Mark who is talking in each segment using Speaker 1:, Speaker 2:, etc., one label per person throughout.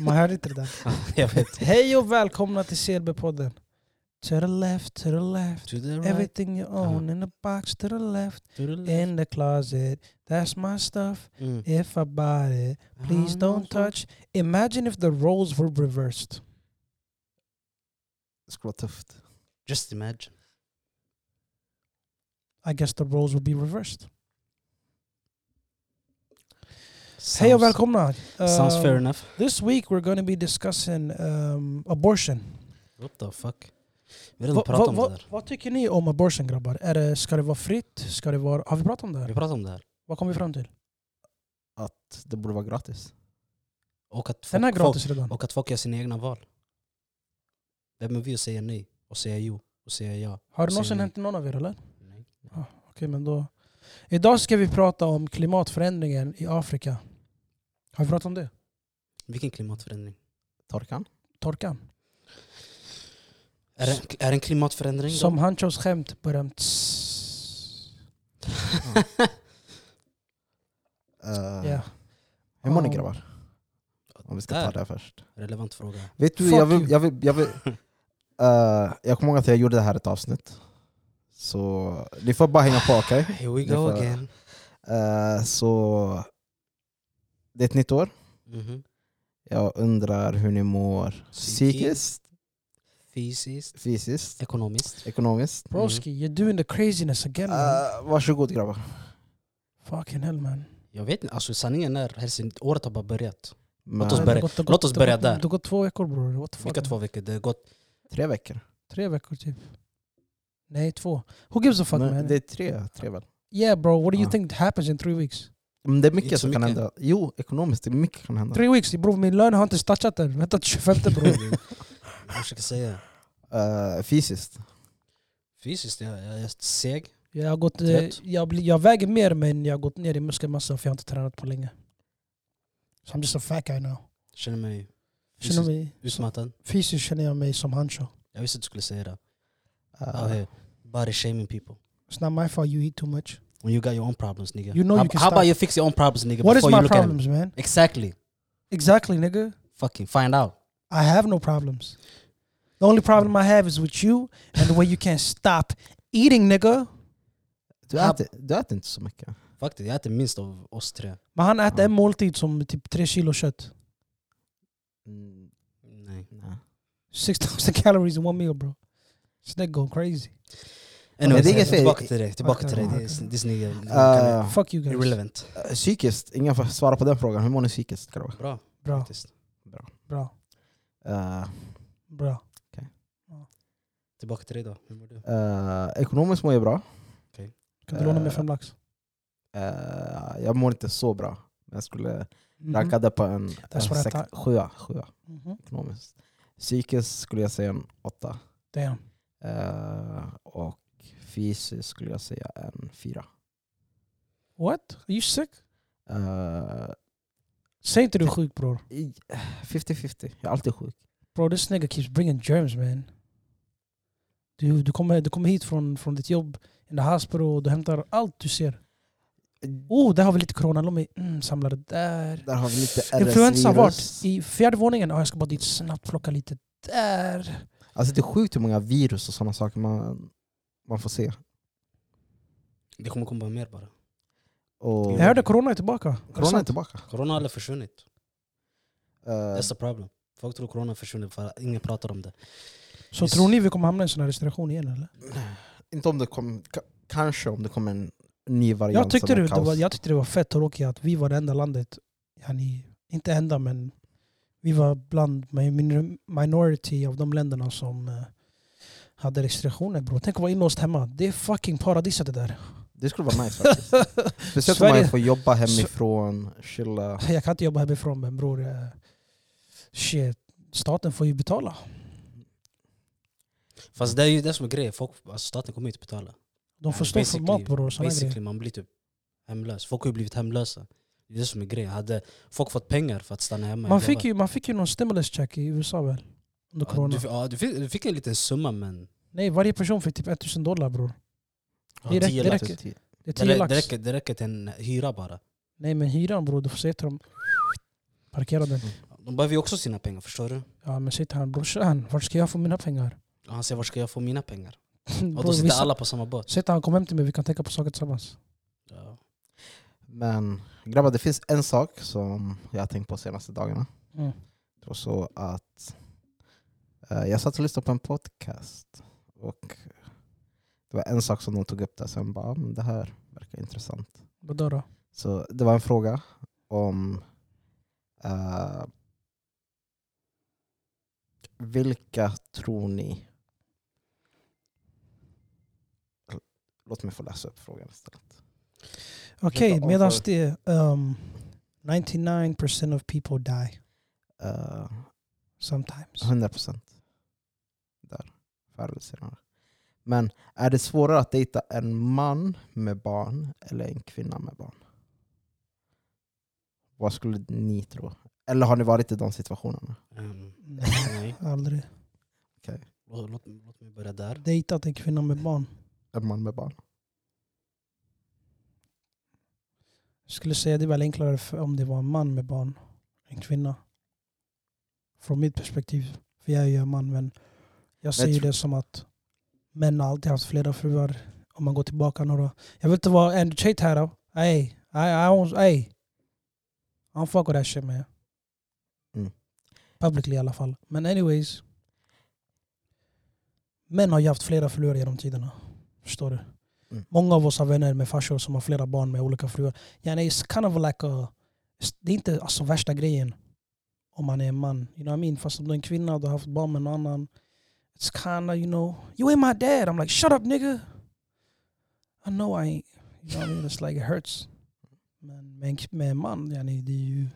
Speaker 1: Man hörde inte det där.
Speaker 2: Jag vet.
Speaker 1: Hej och välkomna till CLB-podden. To the left, to the left.
Speaker 2: To the right,
Speaker 1: Everything you own in the box to the left.
Speaker 2: to the left.
Speaker 1: In the closet. That's my stuff.
Speaker 2: Mm.
Speaker 1: If I bought it. eh, Please don't touch. Imagine if the roles were reversed.
Speaker 3: Det skulle vara tufft.
Speaker 2: Just imagine.
Speaker 1: I guess the roles would be reversed. Hej och välkomna.
Speaker 2: Sounds
Speaker 1: Um,
Speaker 2: fair enough.
Speaker 1: This week we're going to be discussing um, abortion.
Speaker 2: What the fuck? Vi har redan
Speaker 1: Va-
Speaker 2: pratat
Speaker 1: va-
Speaker 2: om
Speaker 1: va-
Speaker 2: det där.
Speaker 1: Vad tycker ni om abortion grabbar? Är det, ska det vara fritt? Ska det vara, har vi pratat om det
Speaker 2: Vi
Speaker 1: här?
Speaker 2: pratat om det här.
Speaker 1: Vad kom vi fram till?
Speaker 3: Det borde vara gratis.
Speaker 2: Och att folk,
Speaker 1: Den är gratis
Speaker 2: folk,
Speaker 1: redan.
Speaker 2: och att folk gör sina egna val. Vem är vi att säga nej och säga jo och säga ja?
Speaker 1: Har det
Speaker 2: säger
Speaker 1: någonsin
Speaker 2: ni.
Speaker 1: hänt någon av er eller?
Speaker 2: Nej.
Speaker 1: Okej, men då. Idag ska vi prata om klimatförändringen i Afrika. Har vi pratat om det?
Speaker 2: Vilken klimatförändring?
Speaker 3: Torkan?
Speaker 1: Torkan?
Speaker 2: Är det, är det en klimatförändring? då?
Speaker 1: Som Hanchos skämt berömt.
Speaker 3: Uh,
Speaker 2: Ah.
Speaker 1: Ja.
Speaker 3: Hur mår ni
Speaker 1: Ja.
Speaker 3: grabbar? Om vi ska
Speaker 2: Där.
Speaker 3: ta det här först.
Speaker 2: Relevant fråga.
Speaker 3: Vet du,
Speaker 1: Fuck
Speaker 3: jag, vill,
Speaker 1: you.
Speaker 3: jag, vill, jag, vill, Eh, jag kommer ihåg att jag gjorde det här ett avsnitt. Så ni får bara hänga på, okej?
Speaker 2: Here we
Speaker 3: Det
Speaker 2: go
Speaker 3: får-
Speaker 2: again.
Speaker 3: Eh, så det är ett nytt år.
Speaker 2: Mhm.
Speaker 3: Jag undrar hur ni mår psykiskt,
Speaker 2: Fysiskt.
Speaker 3: fysiskt,
Speaker 2: Ekonomiskt.
Speaker 3: ekonomiskt.
Speaker 1: Broski,
Speaker 2: Mm.
Speaker 1: you're doing the craziness again man.
Speaker 2: Ah.
Speaker 3: Uh, varsågod grabbar.
Speaker 1: Fucking hell man.
Speaker 2: Jag vet inte, alltså sanningen är hälsing, året har bara börjat. Låt oss
Speaker 3: Men
Speaker 1: Det
Speaker 2: börja.
Speaker 1: har gått- det har
Speaker 2: låt
Speaker 1: gått-
Speaker 2: oss
Speaker 1: det har
Speaker 2: börja
Speaker 1: gått-
Speaker 2: där.
Speaker 1: Det har gått två veckor bror. What the fuck,
Speaker 2: Vilka
Speaker 1: man?
Speaker 2: två veckor? Det har gått
Speaker 3: Tre veckor.
Speaker 1: Tre veckor typ. Nej, två. Who gives a fuck
Speaker 3: Men
Speaker 1: man?
Speaker 3: det är tre, tre väl?
Speaker 1: Yeah bro, what do you
Speaker 2: Ah.
Speaker 3: Ja.
Speaker 1: think happens in three weeks?
Speaker 3: Men det är
Speaker 2: Inte så
Speaker 3: mycket som kan
Speaker 2: mycket.
Speaker 3: hända. Jo, ekonomiskt, det är mycket kan
Speaker 2: Ah.
Speaker 3: hända.
Speaker 1: Three weeks? Bror min lön har inte ens touchat än. Vänta till 25 bror.
Speaker 2: jag försöker säga.
Speaker 3: Eh, fysiskt.
Speaker 2: Fysiskt, jag, jag är seg.
Speaker 1: Jag, har gått, eh,
Speaker 2: Trött.
Speaker 1: jag, blir- jag väger mer men jag har gått ner i muskelmassa för jag har inte tränat på länge. So I'm just a fat guy now.
Speaker 2: Känner mig
Speaker 1: Känner
Speaker 2: fysiskt
Speaker 1: mig,
Speaker 2: utmattad.
Speaker 1: fysiskt känner jag mig som Hancho.
Speaker 2: Jag visste att du skulle säga det.
Speaker 3: Eh,
Speaker 1: Ah.
Speaker 2: Out here, body shaming people.
Speaker 1: It's not my fault you eat too much.
Speaker 2: When you got your own problems nigga.
Speaker 1: You know
Speaker 2: how,
Speaker 1: you can
Speaker 2: how about
Speaker 1: stop.
Speaker 2: you fix your own problems nigga
Speaker 1: What is
Speaker 2: before
Speaker 1: my
Speaker 2: you look at
Speaker 1: problems man?
Speaker 2: it? Exactly.
Speaker 1: Exactly nigga.
Speaker 2: Fucking find out.
Speaker 1: I have no problems. The only problem I have is with you and the way you can't stop eating nigga.
Speaker 3: du, äter, du äter inte så mycket.
Speaker 2: Faktiskt, jag äter minst av oss tre.
Speaker 1: Men han äter
Speaker 3: Ja.
Speaker 1: en måltid som typ tre kilo kött.
Speaker 3: Mm,
Speaker 2: Nej.
Speaker 3: nej.
Speaker 1: 6000 calories in one meal bro. This nigga going crazy.
Speaker 2: Anyway,
Speaker 3: det är inget fel.
Speaker 2: tillbaka till dig. Tillbaka
Speaker 1: Okej,
Speaker 2: till dig. Det
Speaker 1: okej. Ah.
Speaker 2: är- This nigga
Speaker 3: Eh,
Speaker 1: Fuck you guys.
Speaker 2: Ah, irrelevant.
Speaker 3: Eh, Psykiskt, ingen får svara på den frågan. Hur mår ni psykiskt grabbar?
Speaker 2: Bra
Speaker 1: Bra,
Speaker 2: faktiskt.
Speaker 1: bra,
Speaker 3: Eh,
Speaker 1: bra.
Speaker 2: Tillbaka till dig då. Hur mår du?
Speaker 3: eh, ekonomiskt mår jag bra.
Speaker 1: Kan du låna mig
Speaker 3: Eh,
Speaker 1: fem lax?
Speaker 3: Eh, jag mår inte så bra. Men jag skulle
Speaker 1: Mhm.
Speaker 3: ranka Mm. det på en, en
Speaker 1: That's what I
Speaker 3: sex,
Speaker 1: thought.
Speaker 3: sjua, sjua
Speaker 1: Mhm.
Speaker 3: ekonomiskt. Psykiskt skulle jag säga en åtta.
Speaker 1: Damn.
Speaker 3: Eh, och fysiskt skulle jag säga en fyra.
Speaker 1: What? Are you sick?
Speaker 3: Eh,
Speaker 1: Säg inte du är sjuk bror.
Speaker 3: i- 50-50, jag är alltid sjuk.
Speaker 1: Bro this nigga keeps bringing germs man. Du, du, kommer, du kommer hit från, från ditt jobb, in the hospital, och du hämtar allt du ser. Oh, där har vi lite corona, låt mig mm, samla det där.
Speaker 3: Mm. Där har vi lite
Speaker 1: Influensa vart?
Speaker 3: RS-virus.
Speaker 1: I fjärde våningen? Ja, jag ska bara dit snabbt plocka lite där.
Speaker 3: Alltså det är sjukt hur många virus och sådana saker man, man får se.
Speaker 2: Det kommer komma mer bara.
Speaker 3: Och
Speaker 1: Jag hörde corona är tillbaka. Är det
Speaker 3: corona är
Speaker 1: sant?
Speaker 3: tillbaka.
Speaker 2: Corona har aldrig försvunnit.
Speaker 3: Eh,
Speaker 2: That's the problem. Folk tror corona har försvunnit för att ingen pratar om det.
Speaker 1: Så tror ni vi kommer hamna i en sån här restriktion igen eller?
Speaker 3: Inte om det kom, ka- kanske om det kommer en ny variant.
Speaker 1: Jag tyckte
Speaker 3: som är
Speaker 1: det, det
Speaker 3: kaos.
Speaker 1: var, jag tyckte det var fett tråkigt att vi var det enda landet, yani, inte enda men vi var bland min- minority av de länderna som eh, hade restriktioner bror. Tänk att vara inlåst hemma. Det är fucking paradiset det där.
Speaker 3: Det skulle vara nice faktiskt. Speciellt om
Speaker 1: Sverige-
Speaker 3: man får jobba hemifrån, chilla.
Speaker 1: Jag kan inte jobba hemifrån men bror, eh, shit, staten får ju betala.
Speaker 2: Fast det är ju det som är grejen. Folk, alltså staten kommer inte betala. Mm.
Speaker 1: De får stå för
Speaker 2: Basically-
Speaker 1: mat bror och såna grejer.
Speaker 2: Basically, man blir typ hemlös. Folk har ju blivit hemlösa. Det är det som är grejen. Hade folk fått pengar för att stanna hemma?
Speaker 1: Man
Speaker 2: jag
Speaker 1: fick,
Speaker 2: lovar.
Speaker 1: ju, man fick ju någon stimulus check i USA väl? Under
Speaker 2: Ja,
Speaker 1: corona.
Speaker 2: du, fi- ja, du, fick, du fick en liten summa men...
Speaker 1: Nej, varje person fick typ 1000 dollar bror.
Speaker 2: Ja,
Speaker 1: Det räcker-
Speaker 2: tio
Speaker 1: det
Speaker 2: lax.
Speaker 1: räcker. Det är
Speaker 2: Det,
Speaker 1: 10
Speaker 2: rä- det,
Speaker 1: lax.
Speaker 2: räcker, det räcker till en hyra bara.
Speaker 1: Nej men hyran bror, du får se till dem. Parkera den.
Speaker 2: De De behöver ju också sina pengar, förstår du?
Speaker 1: Ja men sitter han brorsan, vart ska jag få mina pengar?
Speaker 2: Och han säger var ska jag få mina pengar? Och
Speaker 1: Bror,
Speaker 2: då sitter
Speaker 1: vissa-
Speaker 2: alla på samma båt.
Speaker 1: Sitter han, kom hem till mig, vi kan tänka på saker tillsammans.
Speaker 2: Ja.
Speaker 3: Men grabbar, det finns en sak som jag har tänkt på de senaste dagarna.
Speaker 1: Mm.
Speaker 3: Det var så att eh, jag satt och lyssnade på en podcast och det var en sak som de tog upp där, sen bara, "Mm, det här verkar intressant.
Speaker 1: Vadå då?
Speaker 3: Så det var en fråga om eh, vilka tror ni... Låt mig få läsa upp frågan istället.
Speaker 1: Okej,
Speaker 3: Försöka
Speaker 1: medan
Speaker 3: avföra-
Speaker 1: det... Um, 99% of people die
Speaker 3: Eh,
Speaker 1: sometimes.
Speaker 3: 100 procent. Där. Förr eller senare. Men är det svårare att dejta en man med barn eller en kvinna med barn? Vad skulle ni tro? Eller har ni varit i de situationerna?
Speaker 2: Ehm,
Speaker 1: Nej,
Speaker 2: nej.
Speaker 1: aldrig.
Speaker 2: Låt, låt, låt mig börja där.
Speaker 1: Dejtat en kvinna med barn.
Speaker 3: En man med barn?
Speaker 1: Jag skulle säga det är väl enklare för om det var en man med barn. En kvinna. Från mitt perspektiv. För jag är ju en man men jag ser ju
Speaker 3: tror-
Speaker 1: det som att män har alltid haft flera fruar. Om man går tillbaka några. Jag vill inte vara Andrew Tate här då. Ey, I, I, don't- ey. I don't fuck with that shit man.
Speaker 3: Mm.
Speaker 1: Publicly i alla fall. Men anyways. Män har ju haft flera fruar genom tiderna. Förstår du?
Speaker 3: Mm.
Speaker 1: Många av oss har vänner med farsor som har flera barn med olika fruar. Yani it's kind of like a, det är inte alltså, värsta grejen om man är en man. You know what I mean? Fast om du är en kvinna och du har haft barn med någon annan. It's kind of, you know, you ain't my dad. I'm like, shut up nigga. I know I ain't. You know what I mean? It's like it hurts. Men med en, k- med en man, yani, det är ju...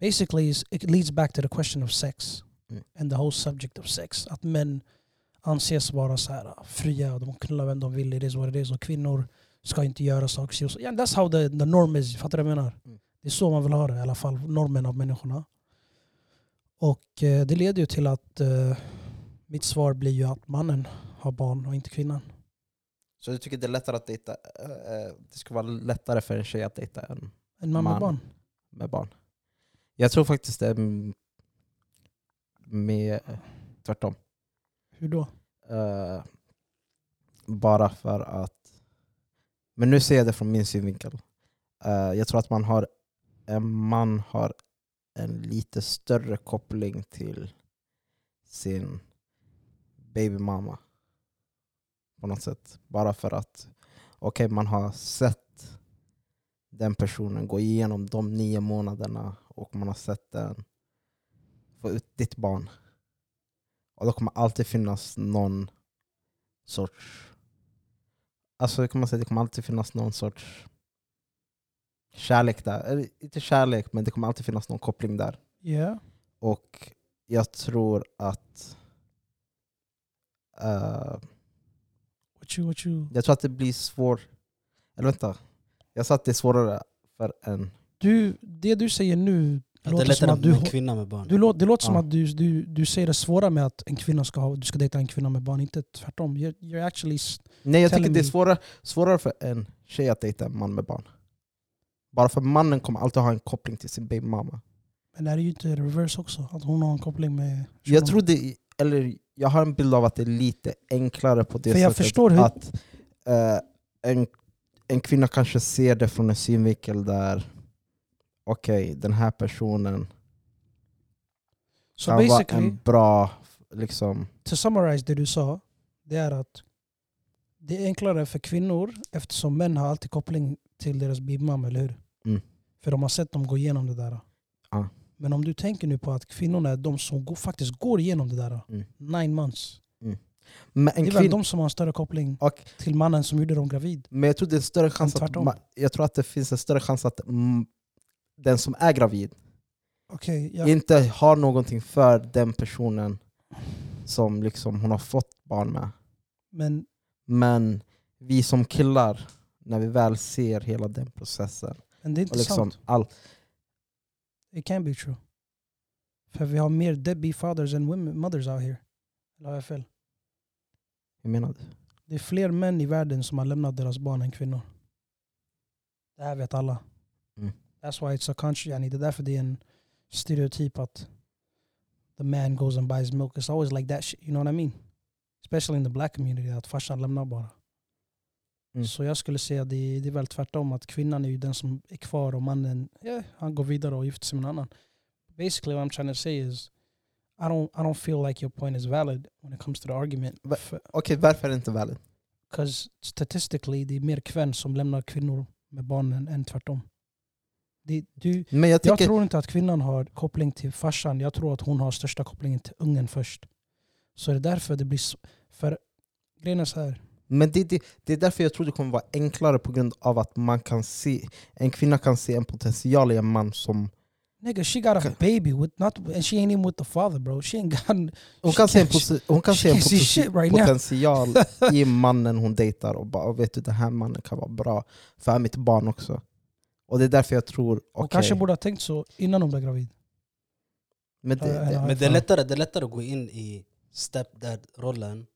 Speaker 1: Basically, it's- it leads back to the question of sex.
Speaker 3: Mm.
Speaker 1: And the whole subject of sex. Att män anses vara så här, fria och de knullar vem de vill. It is what it is. Och kvinnor ska inte göra saker. si och så. Yeah, that's how the, the norm is. Fattar du vad jag menar?
Speaker 3: Mm.
Speaker 1: Det är så man vill ha det. I alla fall normen av människorna. Och eh, det leder ju till att eh, mitt svar blir ju att mannen har barn och inte kvinnan.
Speaker 3: Så du tycker det är lättare att dejta, eh, eh, det skulle vara lättare för en tjej att dejta än
Speaker 1: En man,
Speaker 3: Man.
Speaker 1: med barn.
Speaker 3: med barn? Jag tror faktiskt det är m- med, tvärtom.
Speaker 1: Hur då?
Speaker 3: Eh, bara för att... Men nu ser jag det från min synvinkel. Eh, jag tror att man har, en man har en lite större koppling till sin babymamma. På något sätt. Bara för att okej, man har sett den personen gå igenom de nio månaderna och man har sett den få ut ditt barn. Och då kommer alltid finnas någon sorts... Alltså hur kan man säga, det kommer alltid finnas någon sorts kärlek där. Eller, inte kärlek, men det kommer alltid finnas någon koppling där.
Speaker 1: Yeah.
Speaker 3: Och jag tror att... eh,
Speaker 1: What you, what you.
Speaker 3: jag tror att det blir svårt... Eller vänta. Jag sa att det är svårare för en...
Speaker 1: Du, det du säger nu
Speaker 2: Ja, det är
Speaker 1: låter som
Speaker 2: lättare
Speaker 1: att du,
Speaker 2: med en
Speaker 1: hå-
Speaker 2: kvinna med barn.
Speaker 1: du, lå- det låter som
Speaker 3: Ja.
Speaker 1: att du, du, du säger det svåra med att en kvinna ska ha, du ska dejta en kvinna med barn, inte tvärtom. You're, you're actually s-
Speaker 3: Nej, jag
Speaker 1: Tell
Speaker 3: tycker det är
Speaker 1: me.
Speaker 3: svårare, svårare för en tjej att dejta en man med barn. Bara för mannen kommer alltid ha en koppling till sin babymamma.
Speaker 1: Men är det ju inte reverse också? Att hon har en koppling med...
Speaker 3: Jag tror det, eller jag har en bild av att det är lite enklare på det
Speaker 1: För jag
Speaker 3: sättet
Speaker 1: förstår hur-
Speaker 3: att eh, en, en kvinna kanske ser det från en synvinkel där okej, den här personen
Speaker 1: Så
Speaker 3: kan vara
Speaker 1: basically,
Speaker 3: en bra liksom,
Speaker 1: to summarize det du sa, det är att det är enklare för kvinnor eftersom män har alltid koppling till deras bibmamma, eller hur?
Speaker 3: Mm.
Speaker 1: För de har sett dem gå igenom det där.
Speaker 3: Ja.
Speaker 1: Men om du tänker nu på att kvinnorna är de som går, faktiskt går igenom det där,
Speaker 3: Mm.
Speaker 1: nine months.
Speaker 3: men, en
Speaker 1: det är väl
Speaker 3: kvin-
Speaker 1: de som har en större koppling
Speaker 3: och,
Speaker 1: till mannen som gjorde dem gravid.
Speaker 3: men jag tror det är större chans att,
Speaker 1: tvärtom.
Speaker 3: ma- jag tror att det finns en större chans att mm, den som är gravid
Speaker 1: Okej,
Speaker 3: inte har någonting för den personen som liksom hon har fått barn med.
Speaker 1: men
Speaker 3: Men vi som killar, när vi väl ser hela den processen
Speaker 1: Men det är inte
Speaker 3: och liksom
Speaker 1: sant.
Speaker 3: all,
Speaker 1: It can be true. För vi har mer deadbeat fathers än women, mothers out here. Eller har jag fel?
Speaker 3: jag menar du?
Speaker 1: Det är fler män i världen som har lämnat deras barn än kvinnor. Det här vet alla.
Speaker 3: Mm.
Speaker 1: That's why it's a country. Yani det är därför det är en stereotyp att the man goes and buys milk. It's always like that shit, you know what I mean? Especially in the black community, att farsan lämnar bara.
Speaker 3: Mm.
Speaker 1: Så jag skulle säga det, det är väl tvärtom, att kvinnan är ju den som är kvar och mannen yeah, han går vidare och gifter sig med en annan. Basically what I'm trying to say is I don't, I don't feel like your point is valid when it comes to the argument.
Speaker 3: Va-
Speaker 1: För-
Speaker 3: Okej, varför är det inte valid?
Speaker 1: Because statistically, det är mer kvinnor som lämnar kvinnor med barnen än tvärtom. Det, du,
Speaker 3: Men jag
Speaker 1: jag
Speaker 3: tänker...
Speaker 1: tror inte att kvinnan har koppling till farsan. Jag tror att hon har största kopplingen till ungen först. Så det är därför det blir... s- För grejen är så här.
Speaker 3: Men det, det, det är därför jag tror det kommer vara enklare på grund av att man kan se, en kvinna kan se en potential i en man som...
Speaker 1: Nigga, she got a
Speaker 3: Ka-
Speaker 1: baby with not, and she ain't even with the father bro. She ain't got...
Speaker 3: Hon
Speaker 1: She
Speaker 3: kan se en,
Speaker 1: can't-
Speaker 3: posi- hon kan
Speaker 1: she
Speaker 3: se en
Speaker 1: can't see
Speaker 3: poten-
Speaker 1: shit right now.
Speaker 3: potential i mannen hon dejtar och bara vet du den här mannen kan vara bra för mitt barn också. Och det är därför jag tror...
Speaker 1: Hon
Speaker 3: Okej,
Speaker 1: kanske borde ha tänkt så innan hon blev gravid.
Speaker 3: men det,
Speaker 1: Ja, ja.
Speaker 3: det,
Speaker 2: Men det är, lättare, det är lättare att gå in i stepdad-rollen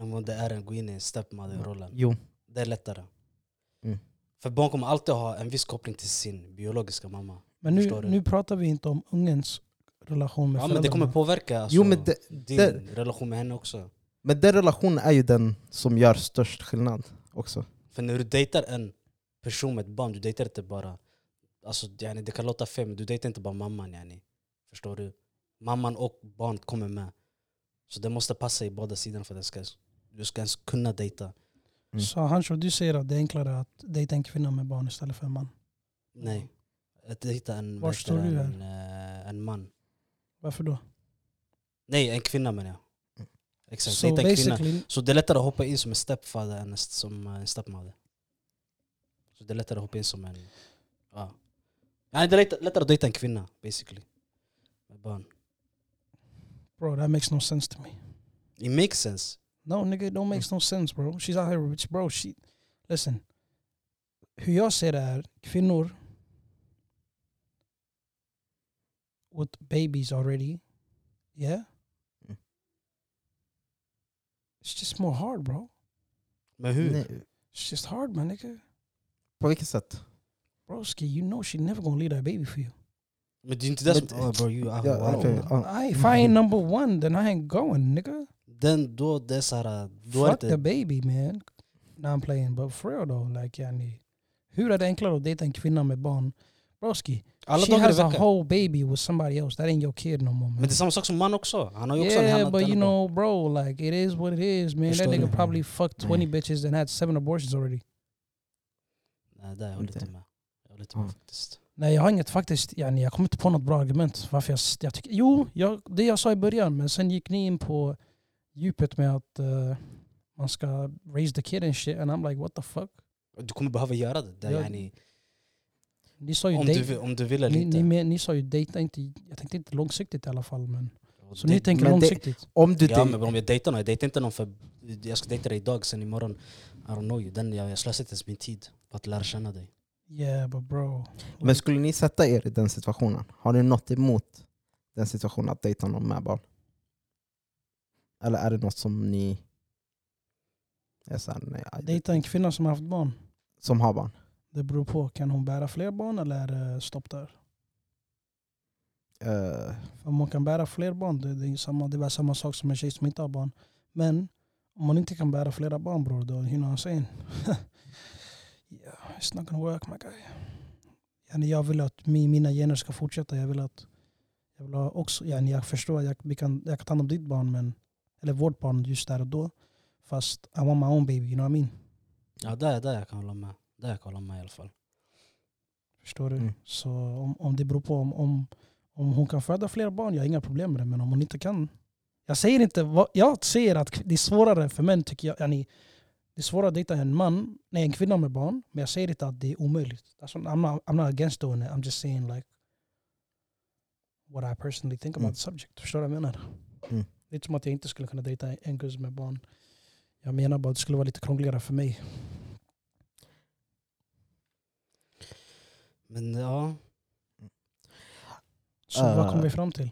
Speaker 2: än vad det är att gå in i stepmother-rollen.
Speaker 3: jo.
Speaker 2: Det är lättare.
Speaker 3: Mm.
Speaker 2: För barn kommer alltid ha en viss koppling till sin biologiska mamma.
Speaker 1: Men nu,
Speaker 2: Förstår du?
Speaker 1: nu pratar vi inte om ungens relation med
Speaker 2: Ja, men det
Speaker 1: föräldrarna.
Speaker 2: kommer påverka alltså,
Speaker 3: jo men, det,
Speaker 2: din
Speaker 3: det-
Speaker 2: relation med henne också.
Speaker 3: men den relationen är ju den som gör störst skillnad också.
Speaker 2: För när du dejtar en person med ett barn, du dejtar inte bara... Alltså, yani, det kan låta fel, men du dejtar inte bara mamman. Yani. Förstår du? Mamman och barnet kommer med. Så det måste passa i båda sidorna för att det ska, du ska ens kunna dejta.
Speaker 3: Mm.
Speaker 1: Så Hansho, du säger att det är enklare att dejta en kvinna med barn istället för en man.
Speaker 2: Nej. Att dejta en,
Speaker 1: Mm. Var
Speaker 2: vad heter
Speaker 1: står du
Speaker 2: det,
Speaker 1: här?
Speaker 2: en, eh, en man.
Speaker 1: Varför då?
Speaker 2: Nej, en kvinna menar jag. Exakt,
Speaker 1: Mm. Så
Speaker 2: dejta en kvinna.
Speaker 1: basically,
Speaker 2: Så det är lättare att hoppa in som en stepfather än st- som eh, en stepmother. Så det är lättare att hoppa in som en... Ja. Nej, det är lätt- lättare att dejta en kvinna basically. Med barn.
Speaker 1: bro that makes no sense to me.
Speaker 2: It makes sense.
Speaker 1: No nigga, it don't makes no sense bro. She's out here rich bro. She, listen. Hur jag ser det är, kvinnor with babies already, yeah?
Speaker 3: Mm.
Speaker 1: It's just more hard bro.
Speaker 2: Men hur?
Speaker 3: Nej,
Speaker 1: It's just hard man nigga.
Speaker 3: på vilket sätt?
Speaker 1: Broski, you know she never gonna leave that baby for you.
Speaker 2: Men det är inte det som...
Speaker 3: Men-
Speaker 2: Oh, bro, you are
Speaker 3: Ja,
Speaker 2: wild.
Speaker 3: okej, ja.
Speaker 1: I, if I ain't number one then I ain't going nigga.
Speaker 2: Den då, det är såhär... Då är
Speaker 1: Fuck the
Speaker 2: inte,
Speaker 1: baby man. Now I'm playing, but for real though, like yani, hur är det enklare att dejta en kvinna med barn? Broski,
Speaker 2: alla
Speaker 1: she
Speaker 2: dagar i
Speaker 1: has a
Speaker 2: veckan.
Speaker 1: whole baby with somebody else. That ain't your kid no more,
Speaker 2: Men
Speaker 1: man.
Speaker 2: det är samma sak som man också. Han har ju också en
Speaker 1: yeah,
Speaker 2: hand
Speaker 1: but
Speaker 2: att
Speaker 1: you
Speaker 2: tända på.
Speaker 1: know, bro, like it is what it is, man. That
Speaker 2: Förstår
Speaker 1: nigga
Speaker 2: du? Mm.
Speaker 1: probably fucked
Speaker 3: Nej.
Speaker 1: 20 bitches and had seven abortions already.
Speaker 2: Nej, det jag håller inte med. Jag håller inte med
Speaker 3: Ja.
Speaker 1: Mm.
Speaker 2: faktiskt.
Speaker 1: Nej, jag har inget faktiskt, yani, jag kommer inte på något bra argument varför jag, jag tycker... Jo, jag, det jag sa i början, men sen gick ni in på djupet med att eh, man ska raise the kid and shit, and I'm like what the fuck?
Speaker 2: Du kommer behöva göra det. det är
Speaker 1: Ja,
Speaker 2: yani,
Speaker 1: Ni sa ju
Speaker 2: om,
Speaker 1: date-
Speaker 2: du, vill- om du vill eller
Speaker 1: Ni, ni,
Speaker 2: inte.
Speaker 1: men- ni sa ju dejta inte, jag tänkte inte långsiktigt i alla fall. Men,
Speaker 2: Och
Speaker 1: så
Speaker 2: det-
Speaker 1: ni tänker
Speaker 3: men det-
Speaker 1: långsiktigt?
Speaker 3: Om du
Speaker 2: Ja
Speaker 3: dej-
Speaker 2: men om jag dejtar någon, jag dejtar inte någon för jag ska dejta dig idag sen imorgon. I don't know you. Den, jag, jag slösar inte ens min tid på att lära känna dig.
Speaker 1: Yeah but bro.
Speaker 3: Men skulle ni sätta er i den situationen? Har ni något emot den situationen att dejta någon med barn? Eller är det något som ni är så här, nej, aj,
Speaker 1: Dejta en kvinna som har haft barn?
Speaker 3: som har barn?
Speaker 1: Det beror på, kan hon bära fler barn eller är det stopp där?
Speaker 3: Eh,
Speaker 1: Om hon kan bära fler barn, det, det, är ju samma, det är väl samma sak som en tjej som inte har barn. Men om hon inte kan bära flera barn bror, då, you know what I'm saying? yeah, it's not gonna work my guy. Yani, Jag vill att mi- mina gener ska fortsätta. Jag vill att jag vill ha också, yani, jag förstår att jag, vi kan, jag kan ta hand om ditt barn, men, eller vårt barn just där och då. Fast I want my own baby, you know what I mean?
Speaker 2: Ja där, där jag kan hålla med. Där jag kan hålla med i alla fall.
Speaker 1: Förstår du?
Speaker 3: Mm.
Speaker 1: Så om, om det beror på om, om, om hon kan föda fler barn, jag har inga problem med det. Men om hon inte kan. Jag säger inte, vad- jag säger att det är svårare för män tycker jag. Yani, det är svårare att dejta en man, nej en kvinna med barn. Men jag säger inte att det är omöjligt. Alltså, I'm, not, I'm not against doing it, I'm just saying like what I personally think about
Speaker 3: Mm.
Speaker 1: the subject. Förstår du vad jag menar?
Speaker 3: Mm.
Speaker 1: Det är inte som att jag inte skulle kunna dejta en guzz med barn. Jag menar bara att det skulle vara lite krångligare för mig.
Speaker 2: Men ja,
Speaker 1: Så vad kommer
Speaker 3: Eh.
Speaker 1: vi fram till?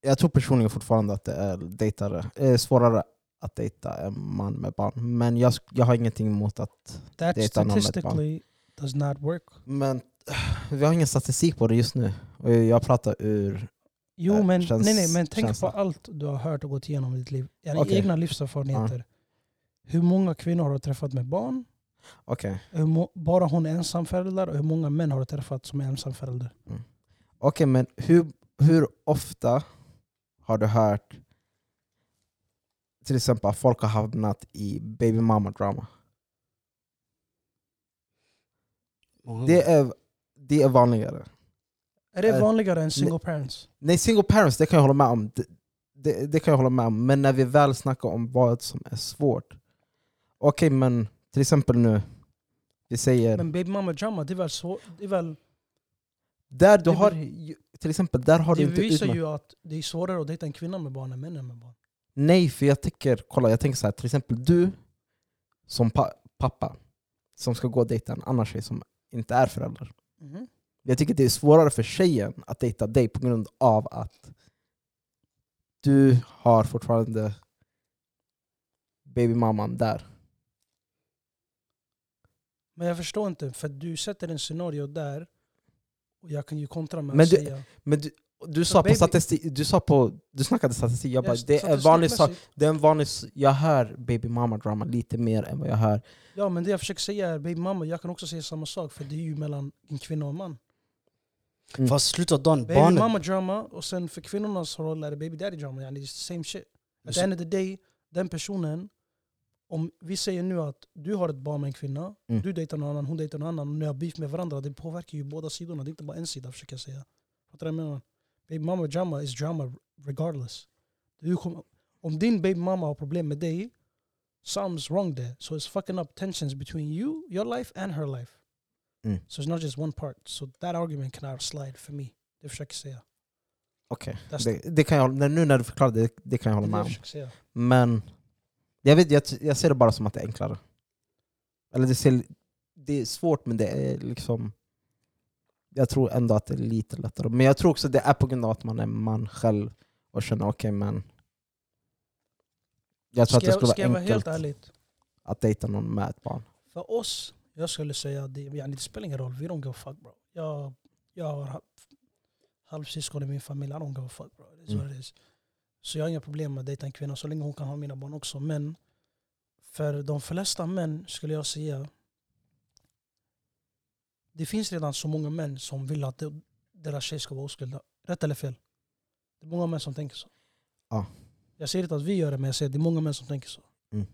Speaker 3: jag tror personligen fortfarande att det är dejtare, eh, svårare att dejta en man med barn. Men jag, sk- jag har ingenting emot att...
Speaker 1: That
Speaker 3: Dejta någon med ett barn.
Speaker 1: statistically does not work.
Speaker 3: Men vi har ingen statistik på det just nu. Och jag pratar ur...
Speaker 1: Jo
Speaker 3: Eh,
Speaker 1: men,
Speaker 3: känns-
Speaker 1: nej, nej, men tänk på
Speaker 3: känsla.
Speaker 1: allt du har hört och gått igenom i ditt liv. Dina
Speaker 3: Okej.
Speaker 1: egna livserfarenheter. Hur många kvinnor har du träffat med barn?
Speaker 3: Okej.
Speaker 1: Hur må- bara hon är ensam förälder och hur många män har du träffat som är ensam förälder?
Speaker 3: Okej, men hur, hur ofta har du hört till exempel att folk har hamnat i baby mama drama?
Speaker 2: Många
Speaker 3: Det,
Speaker 1: Mm.
Speaker 2: gånger.
Speaker 3: är, det är vanligare.
Speaker 1: Är det
Speaker 3: Eh,
Speaker 1: vanligare än single parents?
Speaker 3: Nej, single parents, det kan jag hålla med om. Det, det, det kan jag hålla med om. Men när vi väl snackar om vad som är svårt. Okej, men till exempel nu. Vi säger...
Speaker 1: Men baby mama drama, det är väl så... Det, är väl,
Speaker 3: där du
Speaker 1: det
Speaker 3: har... Till exempel, där har
Speaker 1: det
Speaker 3: du inte
Speaker 1: visar
Speaker 3: utmärkt.
Speaker 1: ju att det är svårare att dejta en kvinna med barn än männen med barn.
Speaker 3: Nej, för jag tänker, kolla, jag tänker så här, till exempel du som pa pappa som ska gå och dejta en annan tjej som inte är förälder.
Speaker 1: Mhm.
Speaker 3: Jag tycker det är svårare för tjejen att dejta dig på grund av att du har fortfarande babymamman där.
Speaker 1: Men jag förstår inte, för du sätter en scenario där och jag kan ju kontra med
Speaker 3: Men
Speaker 1: att
Speaker 3: du-
Speaker 1: säga...
Speaker 3: Men du, du,
Speaker 1: Så
Speaker 3: sa på
Speaker 1: baby-
Speaker 3: statistik, du sa på, du snackade statistik, jag bara,
Speaker 1: Ja,
Speaker 3: det är en vanlig sak.
Speaker 1: statistikmässigt.
Speaker 3: Det är en vanlig, s- jag hör babymamma-drama lite mer än vad jag hör.
Speaker 1: Ja men det jag försöker säga är, baby mamma, jag kan också säga samma sak för det är ju mellan en kvinna och en man.
Speaker 3: Mm.
Speaker 2: Fast slutet av dagen,
Speaker 1: Baby
Speaker 2: barnen...
Speaker 1: mama drama och sen för kvinnornas roll är det baby daddy drama. Yani it's the same shit. At the end of the day, den personen, om vi säger nu att du har ett barn med en kvinna,
Speaker 3: Mm.
Speaker 1: du dejtar någon annan, hon dejtar någon annan, och ni har beef med varandra, det påverkar ju båda sidorna. Det är inte bara en sida försöker jag säga. Fattar du vad jag menar? Baby mama drama is drama regardless. Du kommer, om din baby mama har problem med dig, something's wrong there. So it's fucking up tensions between you, your life and her life.
Speaker 3: Mm.
Speaker 1: So it's not just one part. So that argument cannot slide for me. Det försöker jag säga.
Speaker 3: Okej,
Speaker 1: That's-
Speaker 3: det, det kan jag, hålla- nu när du förklarar det, det kan jag
Speaker 1: Det är
Speaker 3: hålla
Speaker 1: det
Speaker 3: med
Speaker 1: jag
Speaker 3: om.
Speaker 1: försöker säga.
Speaker 3: Men jag, vet, jag, jag ser det bara som att det är enklare. Eller det, ser, det är svårt men det är liksom... Jag tror ändå att det är lite lättare. Men jag tror också det är på grund av att man är man själv och känner okej men... Jag
Speaker 1: Ska
Speaker 3: tror att det
Speaker 1: jag,
Speaker 3: skulle
Speaker 1: ska jag
Speaker 3: vara
Speaker 1: vara
Speaker 3: enkelt
Speaker 1: helt ärligt?
Speaker 3: att dejta någon med ett barn.
Speaker 1: För oss, jag skulle säga att det, yani, det spelar ingen roll. We don't give a fuck bro. Jag, jag har ha- halvsyskon i min familj. I don't give a fuck bro. It's
Speaker 3: Mm.
Speaker 1: what it is. Så jag har inga problem med att dejta en kvinna så länge hon kan ha mina barn också. Men för de flesta män skulle jag säga det finns redan så många män som vill att de- deras tjej ska vara oskulda. Rätt eller fel? Det är många män som tänker så.
Speaker 3: Ja.
Speaker 1: Jag säger inte att vi gör det, men jag säger att det är många män som tänker så.
Speaker 3: Mm.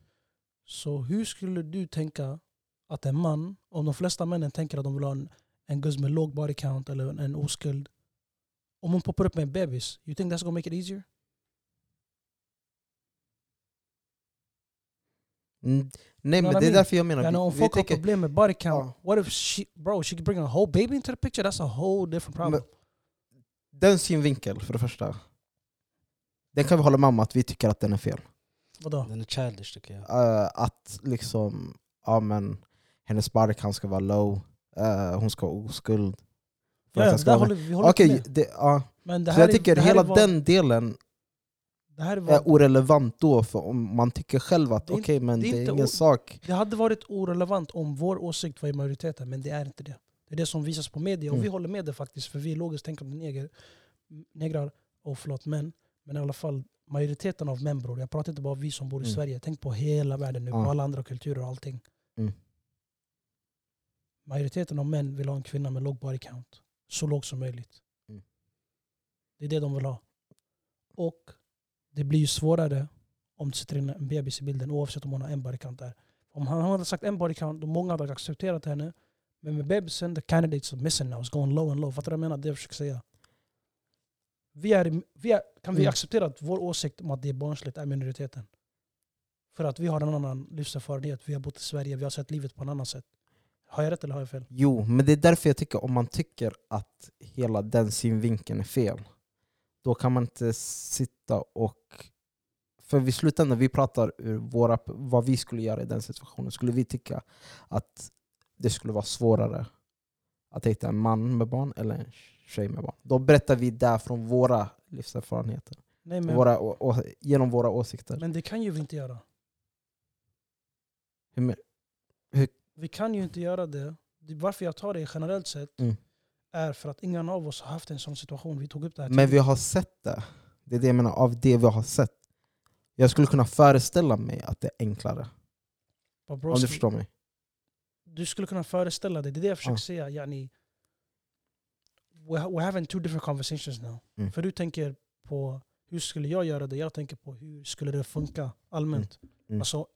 Speaker 1: Så hur skulle du tänka att en man, om de flesta männen tänker att de vill ha en, en guzz med låg body count eller en, en oskuld. Om hon poppar upp med en bebis, you think that's gonna make it easier?
Speaker 3: Mm. Nej men
Speaker 1: vad
Speaker 3: det är
Speaker 1: jag
Speaker 3: därför jag menar...
Speaker 1: Jag menar, om
Speaker 3: vi, vi
Speaker 1: folk har
Speaker 3: tänker,
Speaker 1: problem med body count,
Speaker 3: Ja.
Speaker 1: what if she, bro, she could bring a whole baby into the picture? That's a whole different problem.
Speaker 3: den synvinkeln för det första. Den kan vi hålla med om att vi tycker att den är fel.
Speaker 1: Vadå?
Speaker 2: Den är childish tycker jag.
Speaker 3: Eh, att liksom, ja men hennes body count ska vara low, eh, hon ska ha oskuld. För
Speaker 1: Ja, ja,
Speaker 3: att jag
Speaker 1: det
Speaker 3: ska
Speaker 1: där
Speaker 3: vara-
Speaker 1: håller vi håller
Speaker 3: Okej,
Speaker 1: med.
Speaker 3: det, ja.
Speaker 1: Men det
Speaker 3: så
Speaker 1: här
Speaker 3: jag
Speaker 1: är-
Speaker 3: tycker
Speaker 1: det här är
Speaker 3: hela
Speaker 1: vad-
Speaker 3: den delen
Speaker 1: det här är vad-
Speaker 3: är orelevant då, för om man tycker själv att
Speaker 1: Det är
Speaker 3: okej
Speaker 1: inte-
Speaker 3: men
Speaker 1: det
Speaker 3: det
Speaker 1: är
Speaker 3: är,
Speaker 1: inte
Speaker 3: ingen
Speaker 1: o-
Speaker 3: sak.
Speaker 1: Det hade varit orelevant om vår åsikt var i majoriteten, men det är inte det. Det är det som visas på media, och
Speaker 3: Mm.
Speaker 1: vi håller med det faktiskt, för vi är logiskt tänkande neger, negrar, och förlåt män, men i alla fall majoriteten av män bror. Jag pratar inte bara om vi som bor i
Speaker 3: Mm.
Speaker 1: Sverige, tänk på hela världen nu, på
Speaker 3: Ja.
Speaker 1: alla andra kulturer och allting.
Speaker 3: Mm.
Speaker 1: Majoriteten av män vill ha en kvinna med låg body count, så låg som möjligt.
Speaker 3: Mm.
Speaker 1: Det är det de vill ha. Och det blir ju svårare om det sitter in en bebis i bilden oavsett om hon har en body count där. Om han hade sagt en body count, då många hade accepterat henne. Men med bebisen, the candidates are missing now. It's going low and low. Fattar du vad jag menar? Det jag försöker säga. Vi är, i- vi är, kan vi
Speaker 3: Mm.
Speaker 1: acceptera att vår åsikt om att det är barnsligt är minoriteten? För att vi har en annan livserfarenhet, vi har bott i Sverige, vi har sett livet på en annan sätt. Har jag rätt eller har jag fel?
Speaker 3: Jo, men det är därför jag tycker om man tycker att hela den synvinkeln är fel, då kan man inte sitta och... För vi slutändan, vi pratar ur våra, vad vi skulle göra i den situationen. Skulle vi tycka att det skulle vara svårare att hitta en man med barn eller en tjej med barn? Då berättar vi där från våra livserfarenheter,
Speaker 1: Nej,
Speaker 3: och
Speaker 1: men,
Speaker 3: våra, å- å- genom våra åsikter.
Speaker 1: men det kan ju vi inte göra.
Speaker 3: Hur men-
Speaker 1: Vi kan ju inte göra det det- varför jag tar det generellt sett
Speaker 3: Mm.
Speaker 1: är för att ingen av oss har haft en sån situation. Vi tog upp det här
Speaker 3: Men vi har sett det. Det är det jag menar, av det vi har sett. Jag skulle kunna föreställa mig att det är enklare.
Speaker 1: Bara, bro,
Speaker 3: Om du
Speaker 1: ska-
Speaker 3: förstår mig.
Speaker 1: du skulle kunna föreställa dig, det är det jag försöker
Speaker 3: Ja.
Speaker 1: säga. Yani, we, ha- we're having two different conversations now.
Speaker 3: Mm.
Speaker 1: För du tänker på hur skulle jag göra det? Jag tänker på hur skulle det funka allmänt?
Speaker 3: Mm.
Speaker 1: Alltså,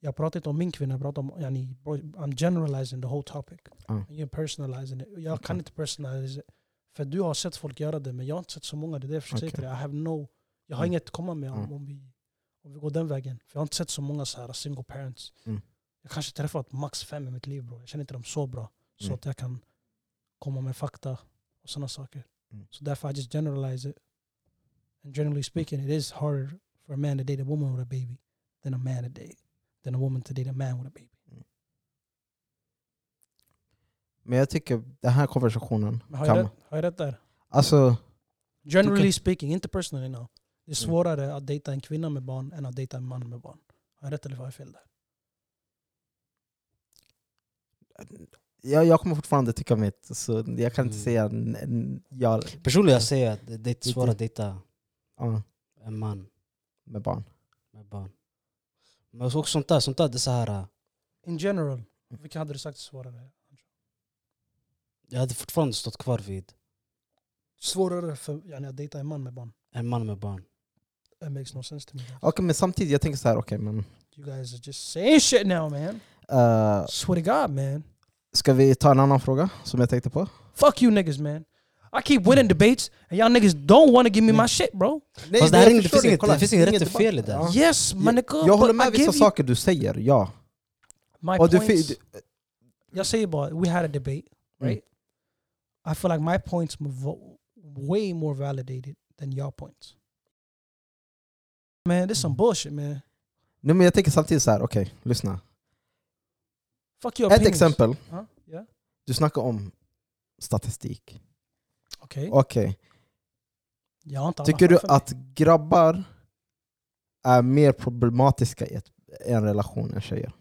Speaker 1: jag pratar inte om min kvinna, jag pratar om, yani, bro, I'm generalizing the whole topic.
Speaker 3: Ja.
Speaker 1: You're personalizing it. Jag kan
Speaker 3: Okej.
Speaker 1: inte personalize it. För du har sett folk göra det, men jag har inte sett så många. Det är det jag försöker säga till dig. I have no, jag har
Speaker 3: Mm.
Speaker 1: inget att komma med om,
Speaker 3: Mm.
Speaker 1: om, vi, om vi går den vägen. För jag har inte sett så många så här single parents.
Speaker 3: Mm.
Speaker 1: Jag kanske träffat max fem i mitt liv bro. Jag känner inte dem så bra. Så
Speaker 3: Mm.
Speaker 1: att jag kan komma med fakta och sådana saker.
Speaker 3: Mm.
Speaker 1: Så därför I just generalize it. And generally speaking it is harder for a man to date a woman with a baby than a man to date than a woman to date a man with a baby.
Speaker 3: Men jag tycker den här konversationen
Speaker 1: Men har,
Speaker 3: kan
Speaker 1: jag
Speaker 3: man...
Speaker 1: rätt, har jag rätt där?
Speaker 3: Alltså,
Speaker 1: Generally
Speaker 3: kan-
Speaker 1: speaking, inte personally now. Det är
Speaker 3: Mm.
Speaker 1: svårare att dejta en kvinna med barn än att dejta en man med barn. Har jag rätt eller har jag fel där?
Speaker 3: jag, jag kommer fortfarande tycka mitt. Så jag kan inte
Speaker 2: Mm.
Speaker 3: säga... n- n- Jag,
Speaker 2: Personligen jag säger att det det är inte svårt att dejta
Speaker 3: ja,
Speaker 2: en man
Speaker 3: med barn.
Speaker 2: med barn. Men också sånt där, sånt där det är så här, äh,
Speaker 1: In general,
Speaker 3: Mm.
Speaker 1: vilken hade du sagt är svårare?
Speaker 2: jag hade fortfarande stått kvar vid
Speaker 1: Svårare för yani, att dejta en man med barn.
Speaker 2: en man med barn.
Speaker 1: It makes no sense to me.
Speaker 3: Okej, men samtidigt, jag tänker så här, okej men...
Speaker 1: You guys are just saying shit now, man.
Speaker 3: eh,
Speaker 1: Swear to God, man.
Speaker 3: ska vi ta en annan fråga som jag tänkte på?
Speaker 1: Fuck you niggas, man. I keep winning debates, and y'all niggas don't want to give me my shit, bro.
Speaker 3: Nej,
Speaker 2: Fast det
Speaker 3: jag
Speaker 2: här är inget-
Speaker 3: förstår
Speaker 2: det finns inget-
Speaker 3: Kolla,
Speaker 2: det finns inget rätt och
Speaker 3: debatt.
Speaker 2: fel i det.
Speaker 3: Ja.
Speaker 1: Yes, my nigga.
Speaker 3: Jag
Speaker 1: but
Speaker 3: håller
Speaker 1: I
Speaker 3: med
Speaker 1: give
Speaker 3: vissa
Speaker 1: you
Speaker 3: saker du säger, ja.
Speaker 1: My
Speaker 3: Och du,
Speaker 1: points.
Speaker 3: fi-
Speaker 1: Y'all say about we had a debate,
Speaker 3: Mm.
Speaker 1: right? I feel like my points were vo- way more validated than y'all points. Man, this
Speaker 3: Mm.
Speaker 1: some bullshit, man.
Speaker 3: Nej, men jag tänker samtidigt så här, okej, lyssna.
Speaker 1: Fuck your
Speaker 3: Ett
Speaker 1: opinions.
Speaker 3: exempel,
Speaker 1: Huh? Yeah.
Speaker 3: du snackar om statistik.
Speaker 1: Okay.
Speaker 3: Okej,
Speaker 1: Y'all inte alla
Speaker 3: tycker du
Speaker 1: för mig.
Speaker 3: att grabbar är mer problematiska i ett, i en relation än tjejer?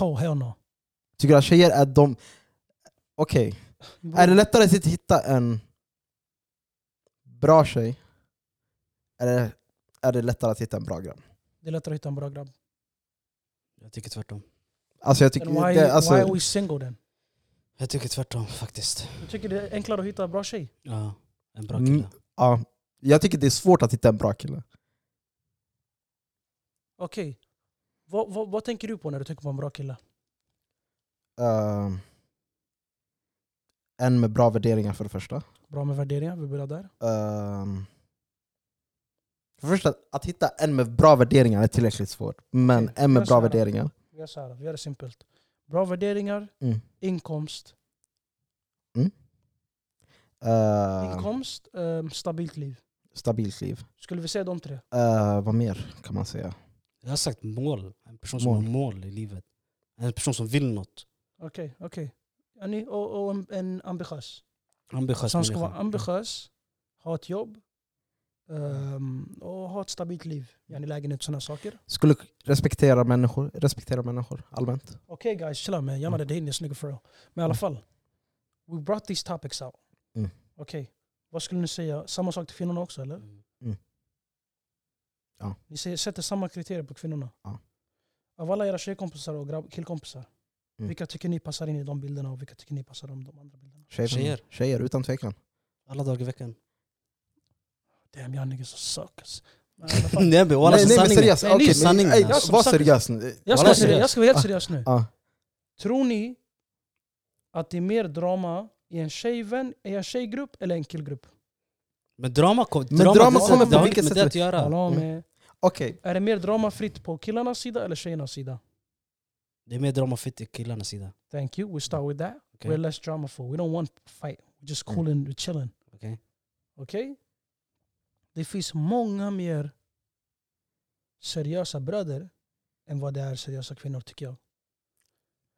Speaker 1: Oh hell no.
Speaker 3: Tycker du att tjejer är de... Okej, är det lättare att hitta en bra tjej? Eller är det lättare att hitta en bra grabb?
Speaker 1: Det är lättare att hitta en bra grabb.
Speaker 2: Jag tycker tvärtom.
Speaker 3: Alltså jag
Speaker 1: Then
Speaker 3: tycker...
Speaker 1: why,
Speaker 3: Det, alltså,
Speaker 1: why are we single then?
Speaker 2: Jag tycker tvärtom faktiskt.
Speaker 1: Du tycker det är enklare att hitta en bra tjej?
Speaker 2: Ja, en bra
Speaker 3: Mm.
Speaker 2: kille.
Speaker 3: ja, jag tycker det är svårt att hitta en bra kille.
Speaker 1: Okej. Vad, vad, vad tänker du på när du tänker på en bra kille?
Speaker 3: Eh, en med bra värderingar för det första.
Speaker 1: Bra med värderingar, vi börjar där.
Speaker 3: Ehm, för det första, att, att hitta en med bra värderingar är tillräckligt svårt. Men
Speaker 1: Okej,
Speaker 3: en med
Speaker 1: jag
Speaker 3: bra
Speaker 1: svarar.
Speaker 3: värderingar.
Speaker 1: Vi gör, så här, vi gör det simpelt. Bra värderingar,
Speaker 3: Mm.
Speaker 1: inkomst.
Speaker 3: Ehm,
Speaker 1: Inkomst, ehm, stabilt liv.
Speaker 3: stabilt liv.
Speaker 1: Skulle vi säga de tre?
Speaker 3: Ehm, vad mer kan man säga?
Speaker 2: Jag har sagt mål. En person som
Speaker 3: Mål.
Speaker 2: har mål i livet. En person som vill något.
Speaker 1: Okej, okej. Är ni- Och, och en, en ambitiös.
Speaker 2: Ambitiös
Speaker 1: Som ska
Speaker 2: människa.
Speaker 1: vara ambitiös, ha ett jobb ehm, och ha ett stabilt liv. Yani lägenhet och sådana saker.
Speaker 3: Skulle respektera människor, respektera människor allmänt.
Speaker 1: Okej guys, chilla man. Jag hade dating this nigga for real. Men i alla fall. We brought these topics out.
Speaker 3: Mm.
Speaker 1: Okej, vad skulle ni säga? Samma sak till kvinnorna också eller?
Speaker 2: Mm.
Speaker 1: Ni säger, sätter samma kriterier på kvinnorna.
Speaker 3: Ja.
Speaker 1: Av alla era tjejkompisar och grabb, killkompisar,
Speaker 3: Mm.
Speaker 1: vilka tycker ni passar in i de bilderna och vilka tycker ni passar in i de andra bilderna?
Speaker 3: Tjejer,
Speaker 2: Tjejer.
Speaker 3: tjejer utan tvekan.
Speaker 2: Alla dagar i veckan.
Speaker 1: Damn, jag niggas are suckers. Men i alla fall,
Speaker 2: Nej men walla
Speaker 3: nej, nej men
Speaker 2: sanningen.
Speaker 3: seriöst,
Speaker 1: Nej, ni-
Speaker 3: okej, men-
Speaker 2: sanningen,
Speaker 3: ey,
Speaker 2: alltså.
Speaker 3: var
Speaker 1: Som sagt.
Speaker 3: seriös.
Speaker 1: jag, ska vara
Speaker 2: Walla,
Speaker 3: Var
Speaker 1: seriös.
Speaker 2: seriös.
Speaker 1: jag ska vara helt
Speaker 3: Ah.
Speaker 1: seriös nu.
Speaker 3: Ja.
Speaker 1: Tror ni att det är mer drama i en tjejvän, i en tjejgrupp eller en killgrupp?
Speaker 2: Men drama, kom,
Speaker 3: Men
Speaker 2: drama,
Speaker 3: drama
Speaker 2: det-
Speaker 3: kommer på
Speaker 2: det har
Speaker 3: vilket
Speaker 2: inte med det
Speaker 3: sätt
Speaker 2: att göra.
Speaker 1: Hålla
Speaker 3: Mm.
Speaker 1: med.
Speaker 3: Okej,
Speaker 1: Är det mer dramafritt på killarnas sida eller tjejernas sida?
Speaker 2: Det är mer dramafritt i killarnas sida.
Speaker 1: Thank you. We start with that.
Speaker 2: Okay.
Speaker 1: We're less dramaful. We don't want fight. We're just cool and we're chilling.
Speaker 2: Okej?
Speaker 1: Okej? Det finns många mer seriösa bröder än vad det är seriösa kvinnor tycker jag.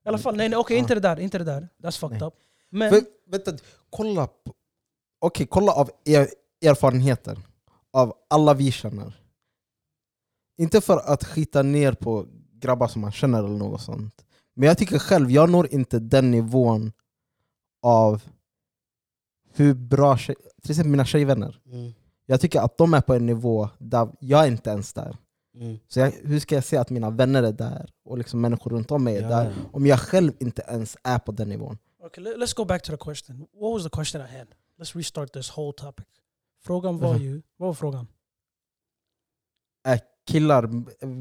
Speaker 1: I alla fall, nej, nej okej
Speaker 3: Ja.
Speaker 1: inte det där, inte det där. That's fucked
Speaker 3: Nej.
Speaker 1: up. Men
Speaker 3: För, vänta, kolla på, okej, kolla av er, erfarenheter av alla vi känner. Inte för att skita ner på grabbar som man känner eller något sånt. Men jag tycker själv, jag når inte den nivån av hur bra tjej, till exempel mina tjejvänner.
Speaker 2: Mm.
Speaker 3: Jag tycker att de är på en nivå där jag inte ens där.
Speaker 2: Mm.
Speaker 3: Så jag, hur ska jag se att mina vänner är där och liksom människor runt om mig är
Speaker 2: Ja,
Speaker 3: där
Speaker 2: ja.
Speaker 3: om jag själv inte ens är på den nivån?
Speaker 1: Okay, let, let's go back to the question. What was the question I had? Let's restart this whole topic. Frågan var
Speaker 3: Mhm.
Speaker 1: ju, vad var frågan?
Speaker 3: Killar,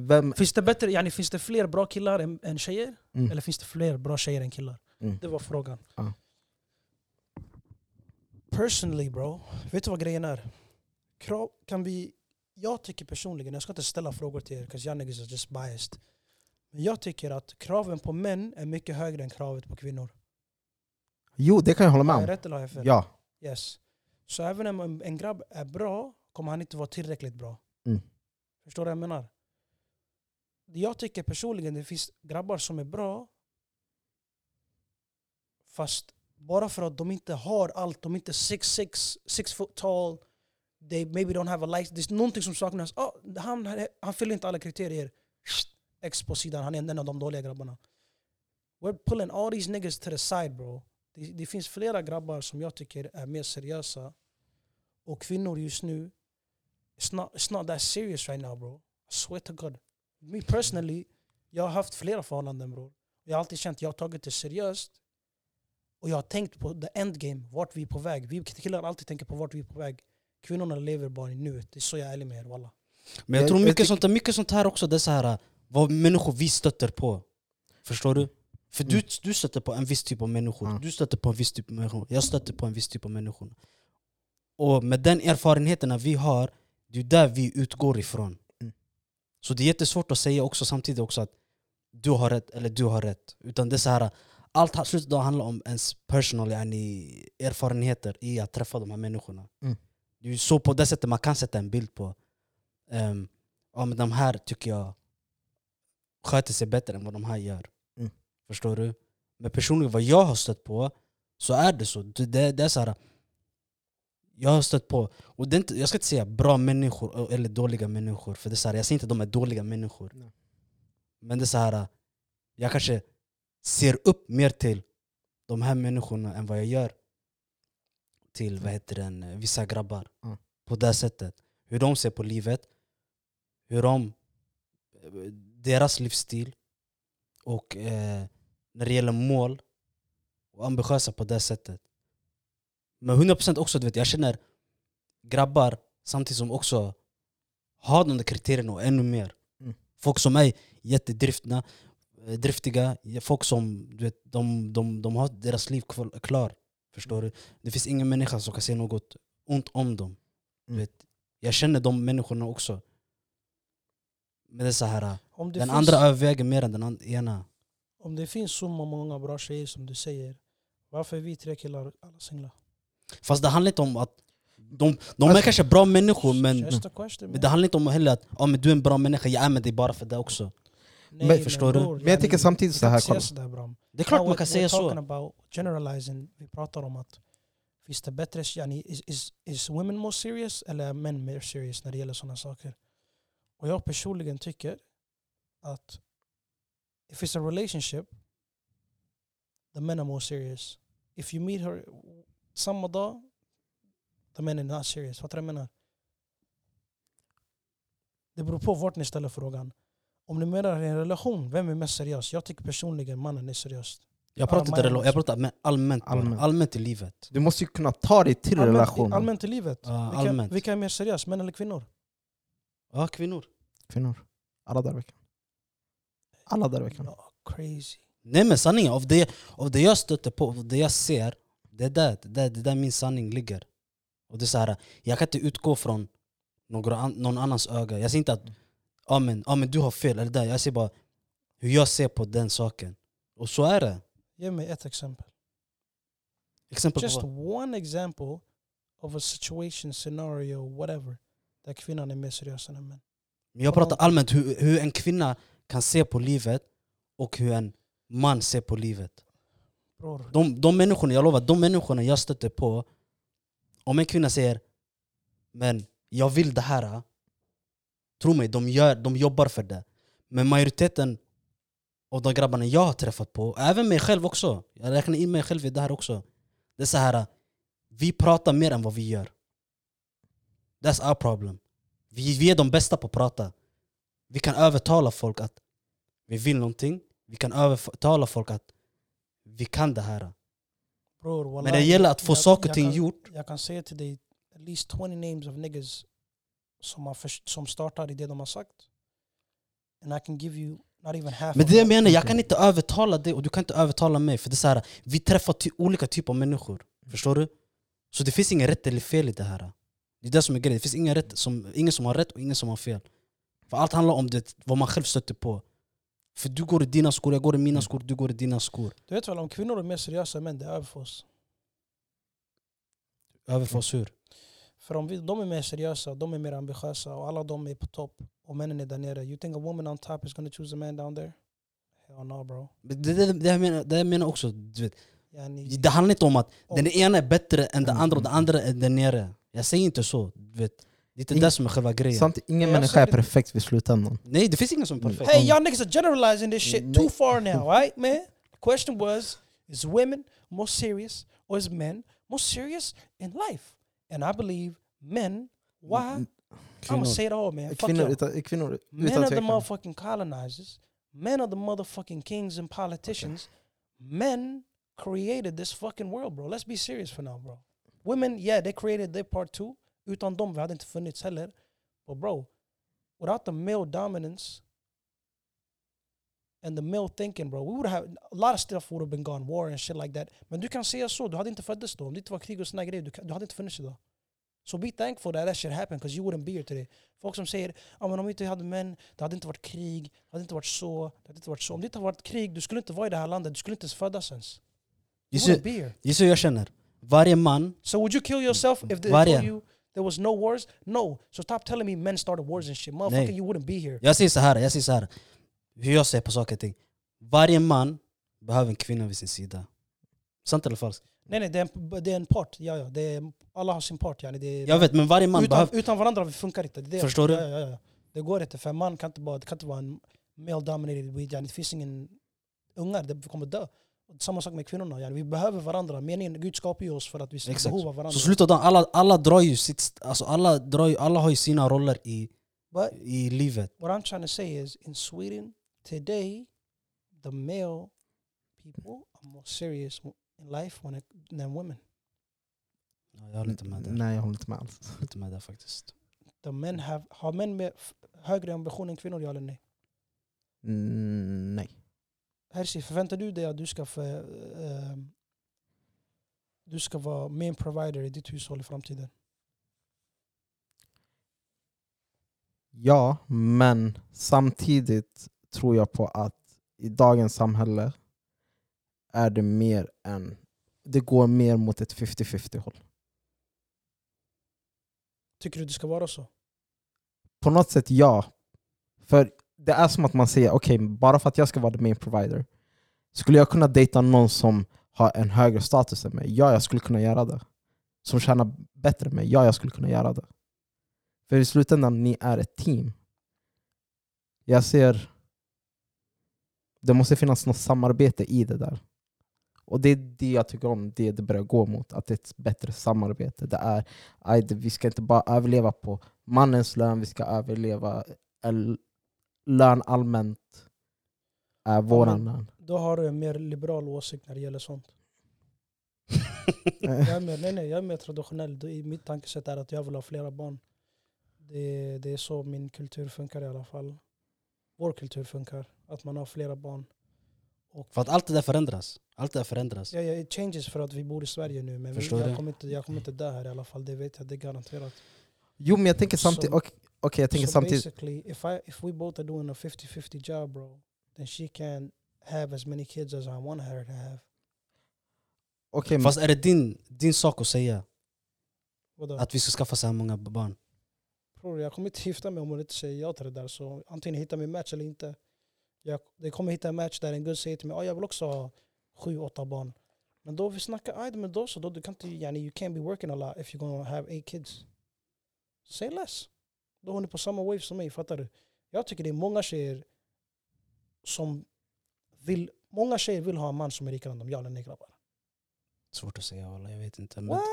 Speaker 3: vem...
Speaker 1: Finns det, bättre, yani, finns det fler bra killar än, än tjejer?
Speaker 3: Mm.
Speaker 1: Eller finns det fler bra tjejer än killar?
Speaker 3: Mm.
Speaker 1: Det var frågan.
Speaker 3: Ja.
Speaker 1: Personally bro, vet du vad grejen är? Krav, kan vi, jag tycker personligen, jag ska inte ställa frågor till er, because y'all niggas are just biased. Men jag tycker att kraven på män är mycket högre än kravet på kvinnor.
Speaker 3: Jo, det kan jag hålla med
Speaker 1: Har jag
Speaker 3: om.
Speaker 1: rätt eller har jag fel?
Speaker 3: Ja.
Speaker 1: Yes. Så även om en- en grabb är bra kommer han inte vara tillräckligt bra.
Speaker 3: Mm.
Speaker 1: Förstår du vad jag menar? Jag tycker personligen det finns grabbar som är bra fast bara för att de inte har allt, de är inte 6'6, 6 foot tall, they maybe don't have a license, det är någonting som saknas. Ah, han, han, han fyller inte alla kriterier. X på sidan, han är en av de dåliga grabbarna. We're pulling all these niggas to the side bro. Det, det finns flera grabbar som jag tycker är mer seriösa. Och kvinnor just nu, it's not, it's not that serious right now bro. I swear to God. Me personally, jag har haft flera förhållanden bror. Jag har alltid känt att jag har tagit det seriöst. Och jag har tänkt på the endgame, vart vi är på väg. Vi killar alltid tänker på vart vi är på väg. Kvinnorna lever bara i nuet, det är så jag är ärlig med er walla.
Speaker 2: Men jag,
Speaker 3: Jag-
Speaker 2: tror
Speaker 3: jag
Speaker 2: mycket,
Speaker 3: tyck-
Speaker 2: sånt, mycket sånt här också, det är så här, vad människor vi stöter på. Förstår du? För du, du stöter på en viss typ av människor,
Speaker 3: Mm. Ja.
Speaker 2: du stöter på en viss typ av människor, jag stöter på en viss typ av människor. Och med den erfarenheterna vi har, det är där vi utgår ifrån.
Speaker 3: Mm.
Speaker 2: Så det är jättesvårt att säga också samtidigt också att du har rätt eller du har rätt. Utan det är så här, allt ha- slutet dagen handlar om ens personal yani, erfarenheter i att träffa de här människorna.
Speaker 3: Mm.
Speaker 2: Det är ju så på det sättet man kan sätta en bild på. Um, ja, men de här tycker jag sköter sig bättre än vad de här gör.
Speaker 3: Mm.
Speaker 2: Förstår du? Men personligen, vad jag har stött på, så är det så. Det, det, det är så här, jag har stött på, och det är inte, jag ska inte säga bra människor eller dåliga människor, för det är så här, jag säger inte att de är dåliga människor.
Speaker 3: Nej.
Speaker 2: Men det är så här, jag kanske ser upp mer till de här människorna än vad jag gör till vad heter den, vissa grabbar.
Speaker 3: Mm.
Speaker 2: På det sättet. Hur de ser på livet, hur de, deras livsstil och eh, när det gäller mål och ambitiösa på det sättet. Men 100% också, du vet, jag känner grabbar samtidigt som också har de där kriterierna och ännu mer.
Speaker 3: Mm.
Speaker 2: Folk som är jättedriftna, eh, driftiga, folk som du vet, de, de, de har deras liv kvar- klar. Förstår du? Det finns ingen människa som kan säga något ont om dem. Du
Speaker 3: Mm.
Speaker 2: vet, jag känner de människorna också. Men det är så här, äh,
Speaker 1: Om det
Speaker 2: den
Speaker 1: finns-
Speaker 2: andra överväger mer än den an- ena.
Speaker 1: Om det finns så många bra tjejer som du säger, varför är vi tre killar alla singlar?
Speaker 2: Fast det handlar inte om att... De, de är
Speaker 3: Alltså-
Speaker 2: kanske bra människor men,
Speaker 1: Just a question,
Speaker 2: men det handlar inte om heller att ja, men du är en bra människa, jag är med dig bara för det också.
Speaker 1: Nej,
Speaker 3: Men-
Speaker 2: förstår du?
Speaker 1: bror,
Speaker 3: Men jag tycker
Speaker 1: yani,
Speaker 3: samtidigt
Speaker 1: vi
Speaker 3: så
Speaker 1: kan
Speaker 3: här,
Speaker 1: inte säga
Speaker 3: kolla.
Speaker 1: sådär, Bram.
Speaker 2: Det är klart
Speaker 1: Now
Speaker 2: man
Speaker 1: we're-
Speaker 2: kan säga
Speaker 1: we're talking
Speaker 2: så.
Speaker 1: About generalizing. Vi pratar om att finns det bättre, yani, is, is, is women more serious eller är män mer serious när det gäller sådana saker? Och jag personligen tycker att if it's a relationship, the men are more serious. If you meet her samma dag, the men are not serious. Fattar du vad jag menar? Det beror på vart ni ställer frågan. Om ni menar en relation, vem är mest seriös? Jag tycker personligen mannen är seriös.
Speaker 2: Jag pratar, inte,
Speaker 1: Alla
Speaker 2: rela- jag pratar allmänt, allmänt, bara.
Speaker 3: Allmänt.
Speaker 2: allmänt i livet.
Speaker 3: Du måste ju kunna ta dig till
Speaker 1: Allmänt,
Speaker 3: relationen.
Speaker 1: allmänt i livet.
Speaker 2: Ja,
Speaker 1: vilka,
Speaker 2: allmänt.
Speaker 1: vilka är mer seriösa, män eller kvinnor?
Speaker 2: Ja, kvinnor.
Speaker 3: Kvinnor. Alla dagar i veckan. Alla dagar i veckan.
Speaker 1: Ja, crazy.
Speaker 2: Nej men sanningen, av det, av det jag stöter på, av det jag ser, det är där, det där, det där min sanning ligger. Och det är så här, jag kan inte utgå från några, an- någon annans öga. Jag säger inte att ja men, ja men du har fel, eller där. jag säger bara hur jag ser på den saken. Och så är det.
Speaker 1: Ge mig ett exempel.
Speaker 2: Exempel på
Speaker 1: Just
Speaker 2: vad?
Speaker 1: one example of a situation, scenario, whatever. Där kvinnan är mer seriös än en man.
Speaker 2: Men jag pratar allmänt hur, hur en kvinna kan se på livet och hur en man ser på livet.
Speaker 1: Bror,
Speaker 2: De, de människorna, jag lovar, de människorna jag stöter på Om en kvinna säger Men jag vill det här Tro mig, de, gör, de jobbar för det Men majoriteten av de grabbarna jag har träffat på, även mig själv också. Jag räknar in mig själv i det här också. Det är så här, vi pratar mer än vad vi gör. That's our problem. Vi, vi är de bästa på att prata. Vi kan övertala folk att vi vill någonting. Vi kan övertala folk att vi kan det här.
Speaker 1: Bror, wallah,
Speaker 2: Men det gäller att få
Speaker 1: jag-
Speaker 2: saker och
Speaker 1: jag
Speaker 2: ting
Speaker 1: kan-
Speaker 2: gjort.
Speaker 1: Jag kan säga till dig at least 20 names of niggas som, har först, som startar i det de har sagt. And I can give you not even half
Speaker 2: Men
Speaker 1: of
Speaker 2: det jag
Speaker 1: that.
Speaker 2: menar, jag kan inte övertala dig och du kan inte övertala mig. För det är så här, vi träffar ty- olika typer av människor. Förstår du? Så det finns ingen rätt eller fel i det här. Det är det som är grejen. Det finns ingen, rätt som, ingen som har rätt och ingen som har fel. För allt handlar om det, vad man själv stöter på. För du går i dina skor, jag går i mina skor, du går i dina skor.
Speaker 1: Du vet väl om kvinnor är mer seriösa än män, det är över för oss.
Speaker 2: Över för oss hur?
Speaker 1: För om vi, de är mer seriösa, de är mer ambitiösa och alla de är på topp och männen är där nere. You think a woman on top is gonna choose a man down there? Hell no bro.
Speaker 2: Men Det, det, det, jag menar, det jag menar också, du vet,
Speaker 1: Yani,
Speaker 2: det handlar inte om att den ena är bättre än den andra och den
Speaker 1: Mm.
Speaker 2: andra är där nere. Jag säger inte så. Du vet. Det är inte det som är själva grejen.
Speaker 3: Sant, ingen
Speaker 1: Jag
Speaker 3: människa
Speaker 1: säger
Speaker 3: är
Speaker 1: det.
Speaker 3: perfekt vid slutändan.
Speaker 2: Nej, det finns ingen som är perfekt.
Speaker 1: hey y'all niggas are generalizing this shit too
Speaker 3: Nej.
Speaker 1: far now, right man? The question was, is women more serious or is men more serious in life? And I believe men, why? I'm gonna say it all man. Fuck
Speaker 3: Kvinnor
Speaker 1: y'all.
Speaker 3: utan, kvinnor
Speaker 1: Men
Speaker 3: utan
Speaker 1: are the
Speaker 3: tvekan.
Speaker 1: motherfucking colonizers. Men are the motherfucking kings and politicians. Men created this fucking world, bro. Let's be serious for now, bro. Women, yeah, they created their part too. Utan dem, vi hade inte funnits heller. But bro, without the male dominance and the male thinking, bro, we would have a lot of stuff would have been gone, war and shit like that. Men du kan säga så, du hade inte föddes då. Om det inte var krig och såna grejer, du, kan- du hade inte funnits idag. So be thankful that that shit happened, because you wouldn't be here today. Folk som säger ah, men om inte vi hade män, det hade inte varit krig, det hade inte varit så, det hade inte varit så. Om det inte hade varit krig, du skulle inte vara i det här landet, du skulle inte ens födas ens. You
Speaker 2: Just det.
Speaker 1: wouldn't be here.
Speaker 2: Gissa hur jag känner. Varje man,
Speaker 1: So would you kill yourself if they
Speaker 2: Varje.
Speaker 1: told you there was no wars? No. So stop telling me men started wars and shit. Motherfucker,
Speaker 2: Nej.
Speaker 1: you wouldn't be here.
Speaker 2: jag säger så här, jag säger så här. Hur jag ser på saker och ting. Varje man behöver en kvinna vid sin sida. Sant eller falskt?
Speaker 1: Nej nej, det är en, det är en part. Ja, ja, det är, alla har sin part. Yani. Det är,
Speaker 2: Jag vet, men varje man
Speaker 1: utan,
Speaker 2: behöver...
Speaker 1: utan varandra vi funkar inte. Det är det.
Speaker 2: Förstår du?
Speaker 1: Ja, ja, ja. Det går inte, för en man kan inte, bara, det kan inte vara en male dominated weed. yani. Det finns ingen ungar, det kommer dö. Och Samma sak med kvinnorna. yani. Vi behöver varandra. Meningen, Gud skapar ju oss för att vi ska
Speaker 2: Exakt.
Speaker 1: behöva varandra.
Speaker 2: Så slutet av dagen, alla, alla drar ju sitt... Alltså alla, drar ju, alla har ju sina roller i,
Speaker 1: But
Speaker 2: i livet.
Speaker 1: what I'm trying to say is in Sweden today, the male people are more serious w- in life when it, than women.
Speaker 2: Ja, Jag håller inte med där. Jag
Speaker 3: Nej, jag håller inte med alls.
Speaker 2: håller inte med där faktiskt.
Speaker 1: The men have, har män med f- högre ambition än kvinnor, ja eller nej?
Speaker 3: Mm, nej.
Speaker 1: Hersi, förväntar du dig att du ska, för, ehm, du ska vara main provider i ditt hushåll i framtiden?
Speaker 3: Ja, men samtidigt tror jag på att i dagens samhälle är det mer än... Det går mer mot ett 50-50 håll.
Speaker 1: Tycker du det ska vara så?
Speaker 3: På något sätt ja. För det är som att man säger okej, bara för att jag ska vara the main provider skulle jag kunna dejta någon som har en högre status än mig? Ja, jag skulle kunna göra det. Som tjänar bättre än mig? Ja, jag skulle kunna göra det. För i slutändan, ni är ett team. Jag ser... Det måste finnas något samarbete i det där. Och det är det jag tycker om, det det börjar gå mot. Att det är ett bättre samarbete. Det är, aj, det- vi ska inte bara överleva på mannens lön, vi ska överleva el- lön allmänt. Är våran lön.
Speaker 1: Då har du en mer liberal åsikt när det gäller sånt. Jag är mer, nej, nej, jag är mer traditionell. Då- i Mitt tankesätt är att jag vill ha flera barn. Det, det är så min kultur funkar i alla fall. Vår kultur funkar. Att man har flera barn.
Speaker 2: För att allt det där förändras. Allt det där förändras.
Speaker 1: Ja, ja, it changes för att vi bor i Sverige nu. Men vi,
Speaker 2: Förstår
Speaker 1: jag,
Speaker 2: det.
Speaker 1: kommer inte, jag kommer inte dö här i alla fall. Det vet jag, det är garanterat.
Speaker 3: Jo men jag tänker
Speaker 1: Som-
Speaker 3: samtidigt, okej okej, jag tänker
Speaker 1: so
Speaker 3: samtidigt,
Speaker 1: basically, if, I, if we both are doing a 50-50 job bro, then she can have as many kids as I want her to have.
Speaker 3: okej, men-
Speaker 2: Fast är det din, din sak att säga
Speaker 1: Vadå?
Speaker 2: att vi ska skaffa så här många barn?
Speaker 1: Bror, jag kommer inte gifta mig om hon inte säger ja till det där. Så antingen hittar min match eller inte. Jag, jag kommer hitta en match där en gud säger till mig att jag vill också ha sju, åtta barn. Men då vi snackar, aj, men då så. Då, du kan inte, yani, you can't be working a lot if you're gonna have eight kids. Say less. Då hon är på samma wave som mig, fattar du? Jag tycker det är många tjejer som Vill, många tjejer vill ha en man som är rikare än dem, ja eller nej grabbar?
Speaker 2: Svårt att säga alla, jag vet inte. Men,
Speaker 1: What?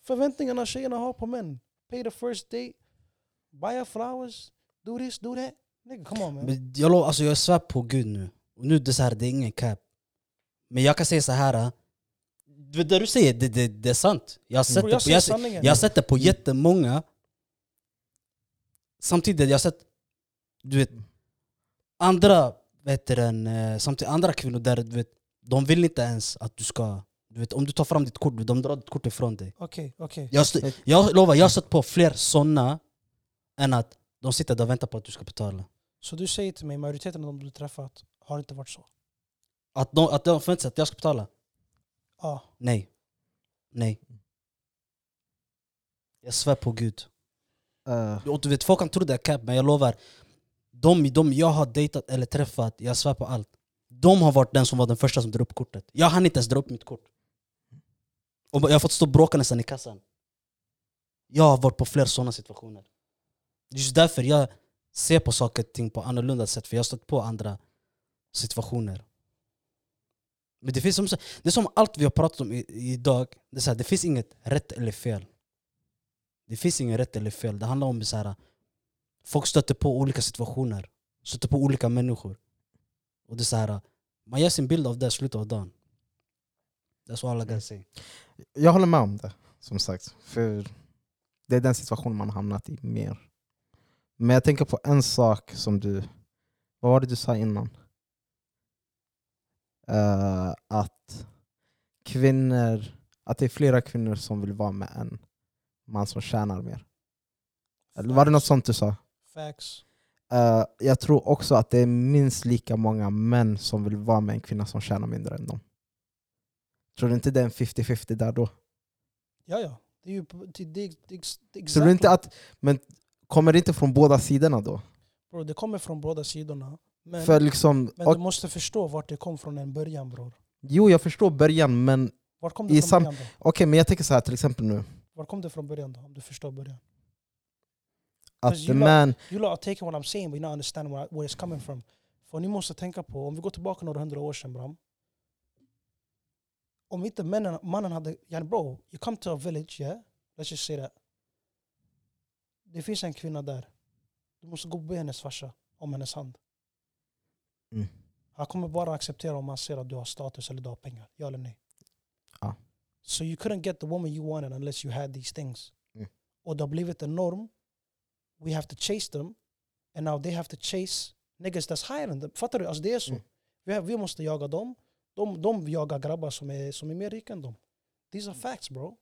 Speaker 1: Förväntningarna tjejerna har på män. Pay the first date, buy her flowers, do this, do that. Nigga, come on man.
Speaker 2: men jag, lov, alltså, jag svär på gud nu. Och nu det är så här, det är ingen cap. Men jag kan säga så här. äh, Det det du säger, det, det, det är sant. Jag har sett
Speaker 1: Bror,
Speaker 2: det
Speaker 1: Mm. jag
Speaker 2: på,
Speaker 1: säger
Speaker 2: jag, ser-
Speaker 1: sanningen.
Speaker 2: jag har sett det på jättemånga. Samtidigt, jag har sett du vet, andra, vad heter den, eh, samtidigt, andra kvinnor där du vet, de vill inte ens att du ska... Du vet, om du tar fram ditt kort, de drar ditt kort ifrån dig.
Speaker 1: Okej, okej.
Speaker 2: Jag, st- jag lovar, jag har sett på fler sådana än att de sitter där och väntar på att du ska betala.
Speaker 1: Så du säger till mig, majoriteten av de du träffat har inte varit så?
Speaker 2: Att de, att de förväntar sig att jag ska betala.
Speaker 1: Ja.
Speaker 2: Nej. Nej. Jag svär på gud.
Speaker 3: Eh,
Speaker 2: Och du vet, folk kan tro det är cap, men jag lovar. De, de jag har dejtat eller träffat, jag svär på allt. De har varit den som var den första som drar upp kortet. Jag hann inte ens dra upp mitt kort. Och jag har fått stå och bråka nästan i kassan. Jag har varit på fler sådana situationer. Just därför jag ser på saker och ting på annorlunda sätt, för jag har stött på andra situationer. Men det finns som, det är som allt vi har pratat om i, idag, det, är så här, det finns inget rätt eller fel. Det finns inget rätt eller fel. Det handlar om så här, folk stöter på olika situationer. Stöter på olika människor. Och det är så här, man gör sin bild av det i slutet av dagen. That's all I gotta say.
Speaker 3: jag håller med om det, som sagt. För Det är den situation man har hamnat i mer. Men jag tänker på en sak som du... Vad var det du sa innan? Eh, att kvinnor... Att det är flera kvinnor som vill vara med en man som tjänar mer. Eller var det något sånt du sa?
Speaker 1: Facts.
Speaker 3: Eh, jag tror också att det är minst lika många män som vill vara med en kvinna som tjänar mindre än dem. Tror du inte det är en 50-50 där då?
Speaker 1: Ja, ja. Det är ju... på- Det, det, det, ex- det,
Speaker 3: Tror du inte
Speaker 1: exactly-
Speaker 3: att... Men kommer det inte från båda sidorna då?
Speaker 1: Bro, det kommer från båda sidorna. Men,
Speaker 3: För liksom...
Speaker 1: men
Speaker 3: och,
Speaker 1: du måste förstå vart det kom från en början bror.
Speaker 3: Jo, jag förstår början, men okej,
Speaker 1: Var kom det
Speaker 3: I
Speaker 1: från
Speaker 3: sam-
Speaker 1: början då?
Speaker 3: men jag tänker så här till exempel nu.
Speaker 1: Var kom det från början då? Om du förstår början.
Speaker 3: Att
Speaker 1: Fast
Speaker 3: the
Speaker 1: gillar-
Speaker 3: man...
Speaker 1: You lot are taking what I'm saying but you don't understand where, where it's coming from. För ni måste tänka på, om vi går tillbaka några hundra år sedan Bram. Om inte männen, mannen hade... Yani bro, you come to a village, yeah? Let's just say that. Det finns en kvinna där. Du måste gå och be hennes farsa om hennes hand.
Speaker 3: Mm.
Speaker 1: Han kommer bara acceptera om han ser att du har status eller du har pengar. Ja eller nej?
Speaker 3: Ja.
Speaker 1: So you couldn't get the woman you wanted unless you had these things.
Speaker 3: Mm.
Speaker 1: Och det har blivit en norm. We have to chase them. And now they have to chase niggas that's higher than them. Fattar du? Alltså det är så.
Speaker 3: Mm.
Speaker 1: Vi, har- vi måste jaga dem. De, de jagar grabbar som är, som e är mer rika än dem. These are facts bro.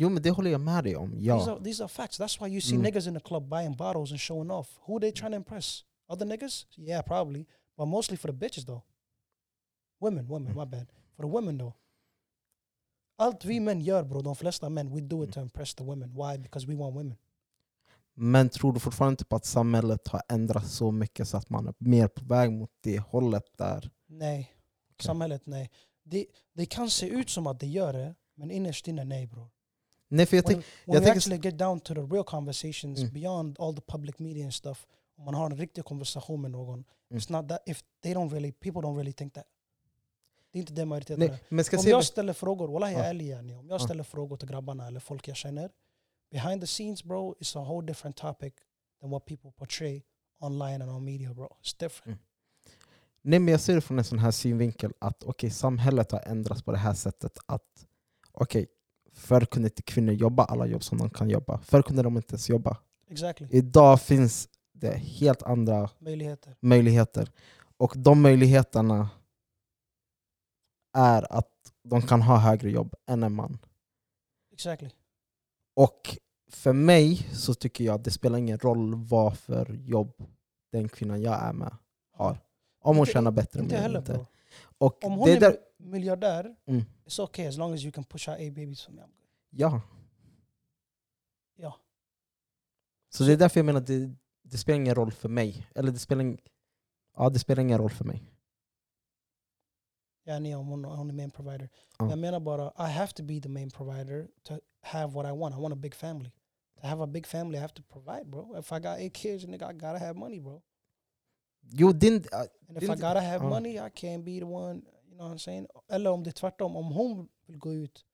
Speaker 3: Jo, men det håller jag med dig om.
Speaker 1: These,
Speaker 3: Ja.
Speaker 1: are, these are facts. That's why you see
Speaker 3: Mm.
Speaker 1: niggas in the club buying bottles and showing off. Who they trying to impress? Other niggas? Yeah, probably. But mostly for the bitches though. Women, women, my bad. For the women though. Allt vi män gör bro, de flesta män, we do it to impress the women. Why? Because we want women.
Speaker 3: Men tror du fortfarande inte på att samhället har ändrats så mycket så att man är mer på väg mot det hållet där?
Speaker 1: Nej. Samhället, nej. Det, det kan se ut som att det gör det, men innerst inne, nej bror.
Speaker 3: Nej, för jag
Speaker 1: When,
Speaker 3: tänker...
Speaker 1: when
Speaker 3: jag
Speaker 1: we
Speaker 3: tänker-
Speaker 1: actually get down to the real conversations
Speaker 3: Mm.
Speaker 1: beyond all the public media and stuff, om man har en riktig konversation med någon,
Speaker 3: Mm.
Speaker 1: it's not that if they don't really, people don't really think that. Det är inte det majoriteten
Speaker 3: Nej,
Speaker 1: är.
Speaker 3: men ska jag
Speaker 1: Om
Speaker 3: säga
Speaker 1: jag ställer frågor, wallah jag är
Speaker 3: Ja.
Speaker 1: ärlig yani. om jag
Speaker 3: Ja.
Speaker 1: ställer frågor till grabbarna eller folk jag känner, behind the scenes bro, it's a whole different topic than what people portray online and on media bro. It's different.
Speaker 3: Nej, men jag ser det från en sån här synvinkel att okej, samhället har ändrats på det här sättet att okej, förr kunde inte kvinnor jobba alla jobb som de kan jobba. Förr kunde de inte ens jobba.
Speaker 1: Exactly.
Speaker 3: Idag finns det helt andra
Speaker 1: Möjligheter.
Speaker 3: möjligheter. Och de möjligheterna är att de kan ha högre jobb än en man.
Speaker 1: Exactly.
Speaker 3: Och för mig så tycker jag att det spelar ingen roll vad för jobb den kvinnan jag är med har. Om hon
Speaker 1: Inte-
Speaker 3: tjänar bättre
Speaker 1: Inte
Speaker 3: än mig
Speaker 1: heller
Speaker 3: inte.
Speaker 1: bror.
Speaker 3: Och
Speaker 1: Om hon
Speaker 3: det
Speaker 1: är
Speaker 3: är där,
Speaker 1: mi- miljardär,
Speaker 3: Mm.
Speaker 1: it's okay as long as you can push out eight babies for me. I'm good.
Speaker 3: ja.
Speaker 1: Ja.
Speaker 3: Så det är därför jag menar att det, det spelar ingen roll för mig. Eller det spelar, ing- ja, det spelar ingen roll för mig.
Speaker 1: Yani om hon, hon är main provider.
Speaker 3: Ja.
Speaker 1: Jag menar bara, I have to be the main provider to have what I want. I want a big family. To have a big family I have to provide bro. If I got eight kids nigga, I gotta have money bro.
Speaker 3: Jo, din... ah,
Speaker 1: And
Speaker 3: Det
Speaker 1: if
Speaker 3: är
Speaker 1: I
Speaker 3: lite-
Speaker 1: gotta have
Speaker 3: ja.
Speaker 1: money I can't be the one, you know what I'm saying? Eller om det är tvärtom, om hon vill gå ut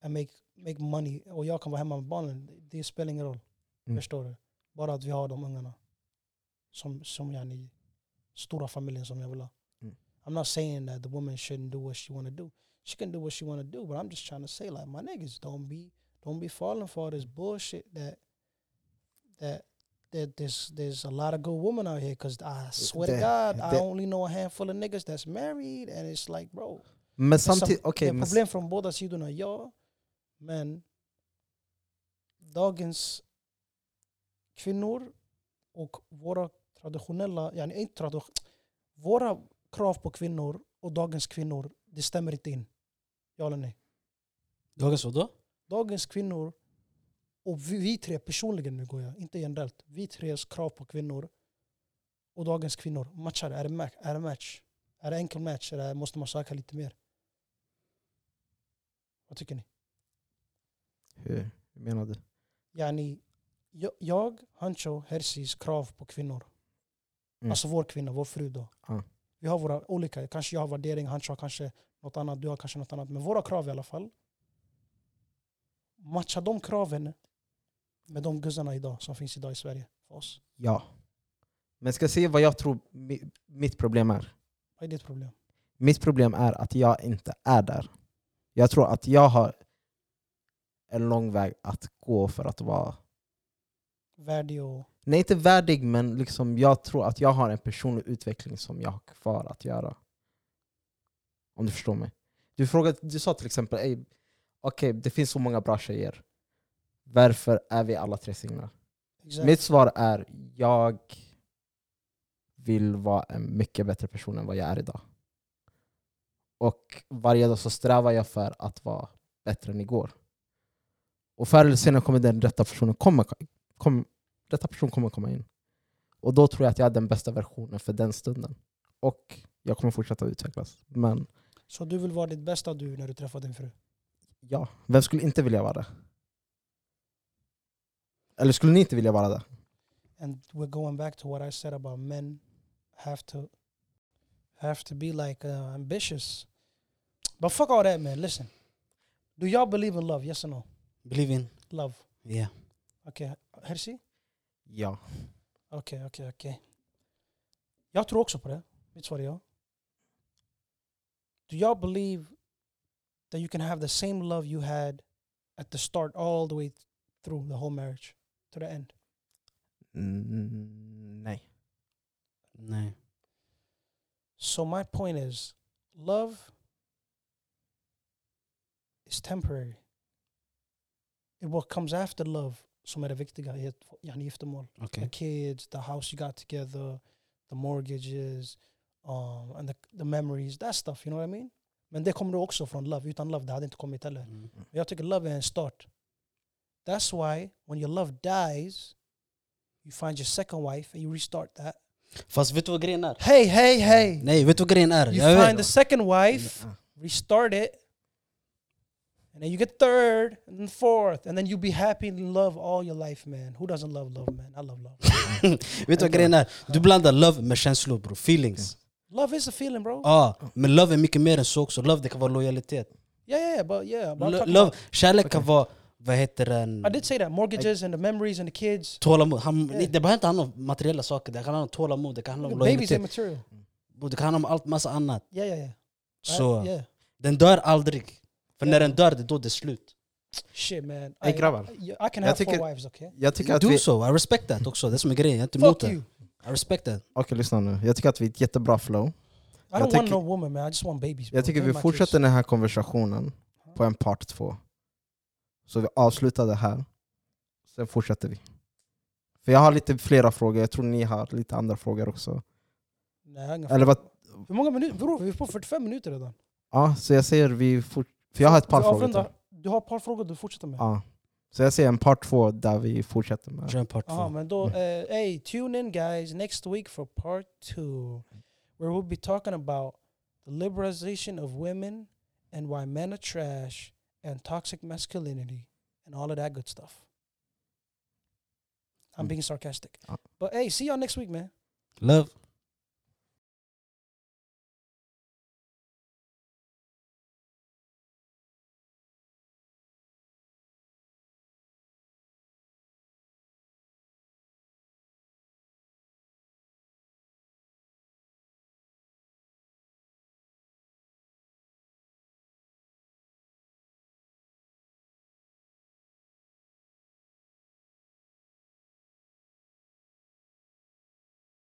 Speaker 1: and make, make money och jag kan vara hemma med barnen, det- det spelar ingen roll.
Speaker 3: Mm.
Speaker 1: Förstår du? Bara att vi har de ungarna. Som, som jag ni, stora familjen som jag vill ha.
Speaker 3: Mm.
Speaker 1: I'm not saying that the woman shouldn't do what she wanna do. She can do what she wanna do, but I'm just trying to say like my niggas don't be don't be falling for this bullshit that that that there's there's a lot of good women out here because I swear to
Speaker 3: The-
Speaker 1: God I
Speaker 3: the-
Speaker 1: only know a handful of niggas that's married and it's like bro
Speaker 3: men
Speaker 1: som-
Speaker 3: samtidigt...
Speaker 1: det
Speaker 3: Okej,
Speaker 1: är
Speaker 3: men-
Speaker 1: problem från båda sidorna ja men dagens kvinnor och våra traditionella yani inte tradition, våra krav på kvinnor och dagens kvinnor det stämmer inte in ja eller nej
Speaker 2: Dagens vadå?
Speaker 1: dagens kvinnor och vi, vi tre personligen nu går jag, inte generellt. Vi tres krav på kvinnor och dagens kvinnor matchar. Är det, ma- är det match? Är det enkel match eller måste man söka lite mer? Vad tycker ni?
Speaker 3: Hur hur menar du?
Speaker 1: Yani, jag, jag Hancho, Hersis krav på kvinnor.
Speaker 3: Mm.
Speaker 1: Alltså vår kvinna, vår fru då.
Speaker 3: Ja.
Speaker 1: Vi har våra olika, kanske jag har värdering, Hancho har kanske något annat, du har kanske något annat. Men våra krav i alla fall. Matcha de kraven med de guzzarna idag som finns idag i Sverige för oss.
Speaker 3: Ja. Men ska jag se vad jag tror mi- mitt problem är?
Speaker 1: Vad är ditt problem?
Speaker 3: Mitt problem är att jag inte är där. Jag tror att jag har en lång väg att gå för att vara...
Speaker 1: Värdig och...
Speaker 3: Nej, inte värdig, men liksom jag tror att jag har en personlig utveckling som jag har kvar att göra. Om du förstår mig. Du, frågade, du sa till exempel, "Ey, okej, det finns så många bra tjejer. Varför är vi alla tre singlar?
Speaker 1: Exakt.
Speaker 3: Mitt svar är, jag vill vara en mycket bättre person än vad jag är idag. Och varje dag så strävar jag för att vara bättre än igår. Och förr eller senare kommer den rätta personen komma, kom, rätta personen kommer komma in. Och då tror jag att jag är den bästa versionen för den stunden. Och jag kommer fortsätta utvecklas. Men
Speaker 1: Så du vill vara ditt bästa du när du träffar din fru?
Speaker 3: ja, vem skulle inte vilja vara det? Eller skulle ni inte vilja vara det?
Speaker 1: and we're going back to what I said about men have to have to be like uh, ambitious. But fuck all that, man. Listen, do y'all believe in love? Yes or no?
Speaker 2: Believe in.
Speaker 1: Love.
Speaker 2: Yeah.
Speaker 1: Okay, Hersi.
Speaker 3: Ja.
Speaker 1: Okej, okej, okej. Jag tror också på det. Mitt svar är ja. Do y'all believe that you can have the same love you had at the start all the way through the whole marriage to the end?
Speaker 3: Mm, nej.
Speaker 2: Nej.
Speaker 1: So my point is, love is temporary. It what comes after love som är det viktiga i ett yani giftermål.
Speaker 2: Okej.
Speaker 1: The kids, the house you got together, the mortgages, um, and the, the memories, that stuff, you know what I mean? Men det kommer också från love. Utan love, det hade inte kommit heller.
Speaker 2: Mm.
Speaker 1: Men Jag tycker love är en start. That's why when your love dies, you find your second wife and you restart that.
Speaker 2: Fast vet du vad grejen är?
Speaker 1: Hey, hey, hey!
Speaker 2: Nej, vet du vad grejen är?
Speaker 1: You
Speaker 2: Jag vet.
Speaker 1: find the second wife,
Speaker 3: Ja.
Speaker 1: restart it, and then you get third and then fourth, and then you be happy and in love all your life, man. Who doesn't love love, man? I love love.
Speaker 2: Vet du vad grejen är? Du blandar love med känslor bro, feelings.
Speaker 1: love is a feeling, bro.
Speaker 2: Ja, men love är mycket mer än så också. Love det kan vara lojalitet.
Speaker 1: yeah, yeah, yeah, but yeah, but I'm
Speaker 2: Lo-
Speaker 1: talking
Speaker 2: Love,
Speaker 1: about-
Speaker 2: kärlek kan vara, vad heter den?
Speaker 1: I did say that mortgages and the memories and the kids.
Speaker 2: Tålamod. Han,
Speaker 1: Yeah.
Speaker 2: Det behöver inte handla om materiella saker, det kan handla om tålamod, det kan handla om
Speaker 1: Babies
Speaker 2: lojalitet.
Speaker 1: immaterial.
Speaker 2: Och Det kan handla om allt massa annat.
Speaker 1: Yeah, yeah, yeah. I-
Speaker 2: Så
Speaker 1: yeah,
Speaker 2: den dör aldrig. För
Speaker 1: Yeah.
Speaker 2: när den dör, det är då det är slut.
Speaker 1: shit, man.
Speaker 3: Hey,
Speaker 1: I,
Speaker 3: grabbar.
Speaker 1: I, I can
Speaker 3: Jag
Speaker 1: have four
Speaker 3: tycker-
Speaker 1: wives, okay?
Speaker 3: Jag tycker att
Speaker 2: Do
Speaker 3: vi...
Speaker 2: so, I respect that också. Det är som är grejen, jag är inte emot
Speaker 1: Fuck
Speaker 2: det.
Speaker 1: you.
Speaker 2: I respect that.
Speaker 3: Okej, lyssna nu. Jag tycker att vi är ett jättebra flow.
Speaker 1: I
Speaker 3: Jag
Speaker 1: don't want
Speaker 3: tycker-
Speaker 1: no woman, man. I just want babies. Bro.
Speaker 3: Jag tycker
Speaker 1: Give
Speaker 3: vi
Speaker 1: my kids.
Speaker 3: fortsätter den här konversationen på en part två. Så vi avslutar det här. Sen fortsätter vi. För jag har lite flera frågor. Jag tror ni har lite andra frågor också.
Speaker 1: Nej, jag har inga
Speaker 3: Eller vad...
Speaker 1: frågor. Hur många minuter? Bror, vi är på 45 minuter redan.
Speaker 3: Ja, så jag säger vi... Fort... För jag har ett par
Speaker 1: Vi
Speaker 3: frågor
Speaker 1: avrundar.
Speaker 3: till.
Speaker 1: Du har ett par frågor du fortsätter med.
Speaker 3: Ja. Så jag säger en part två där vi fortsätter med...
Speaker 2: Kör en part
Speaker 1: Aha,
Speaker 2: två.
Speaker 1: man, though, uh, hey, tune in, guys, next week for part two, where we'll be talking about the liberalization of women and why men are trash and toxic masculinity and all of that good stuff. I'm
Speaker 3: Mm.
Speaker 1: being sarcastic.
Speaker 3: Ah.
Speaker 1: But hey, see y'all next week, man.
Speaker 2: Love.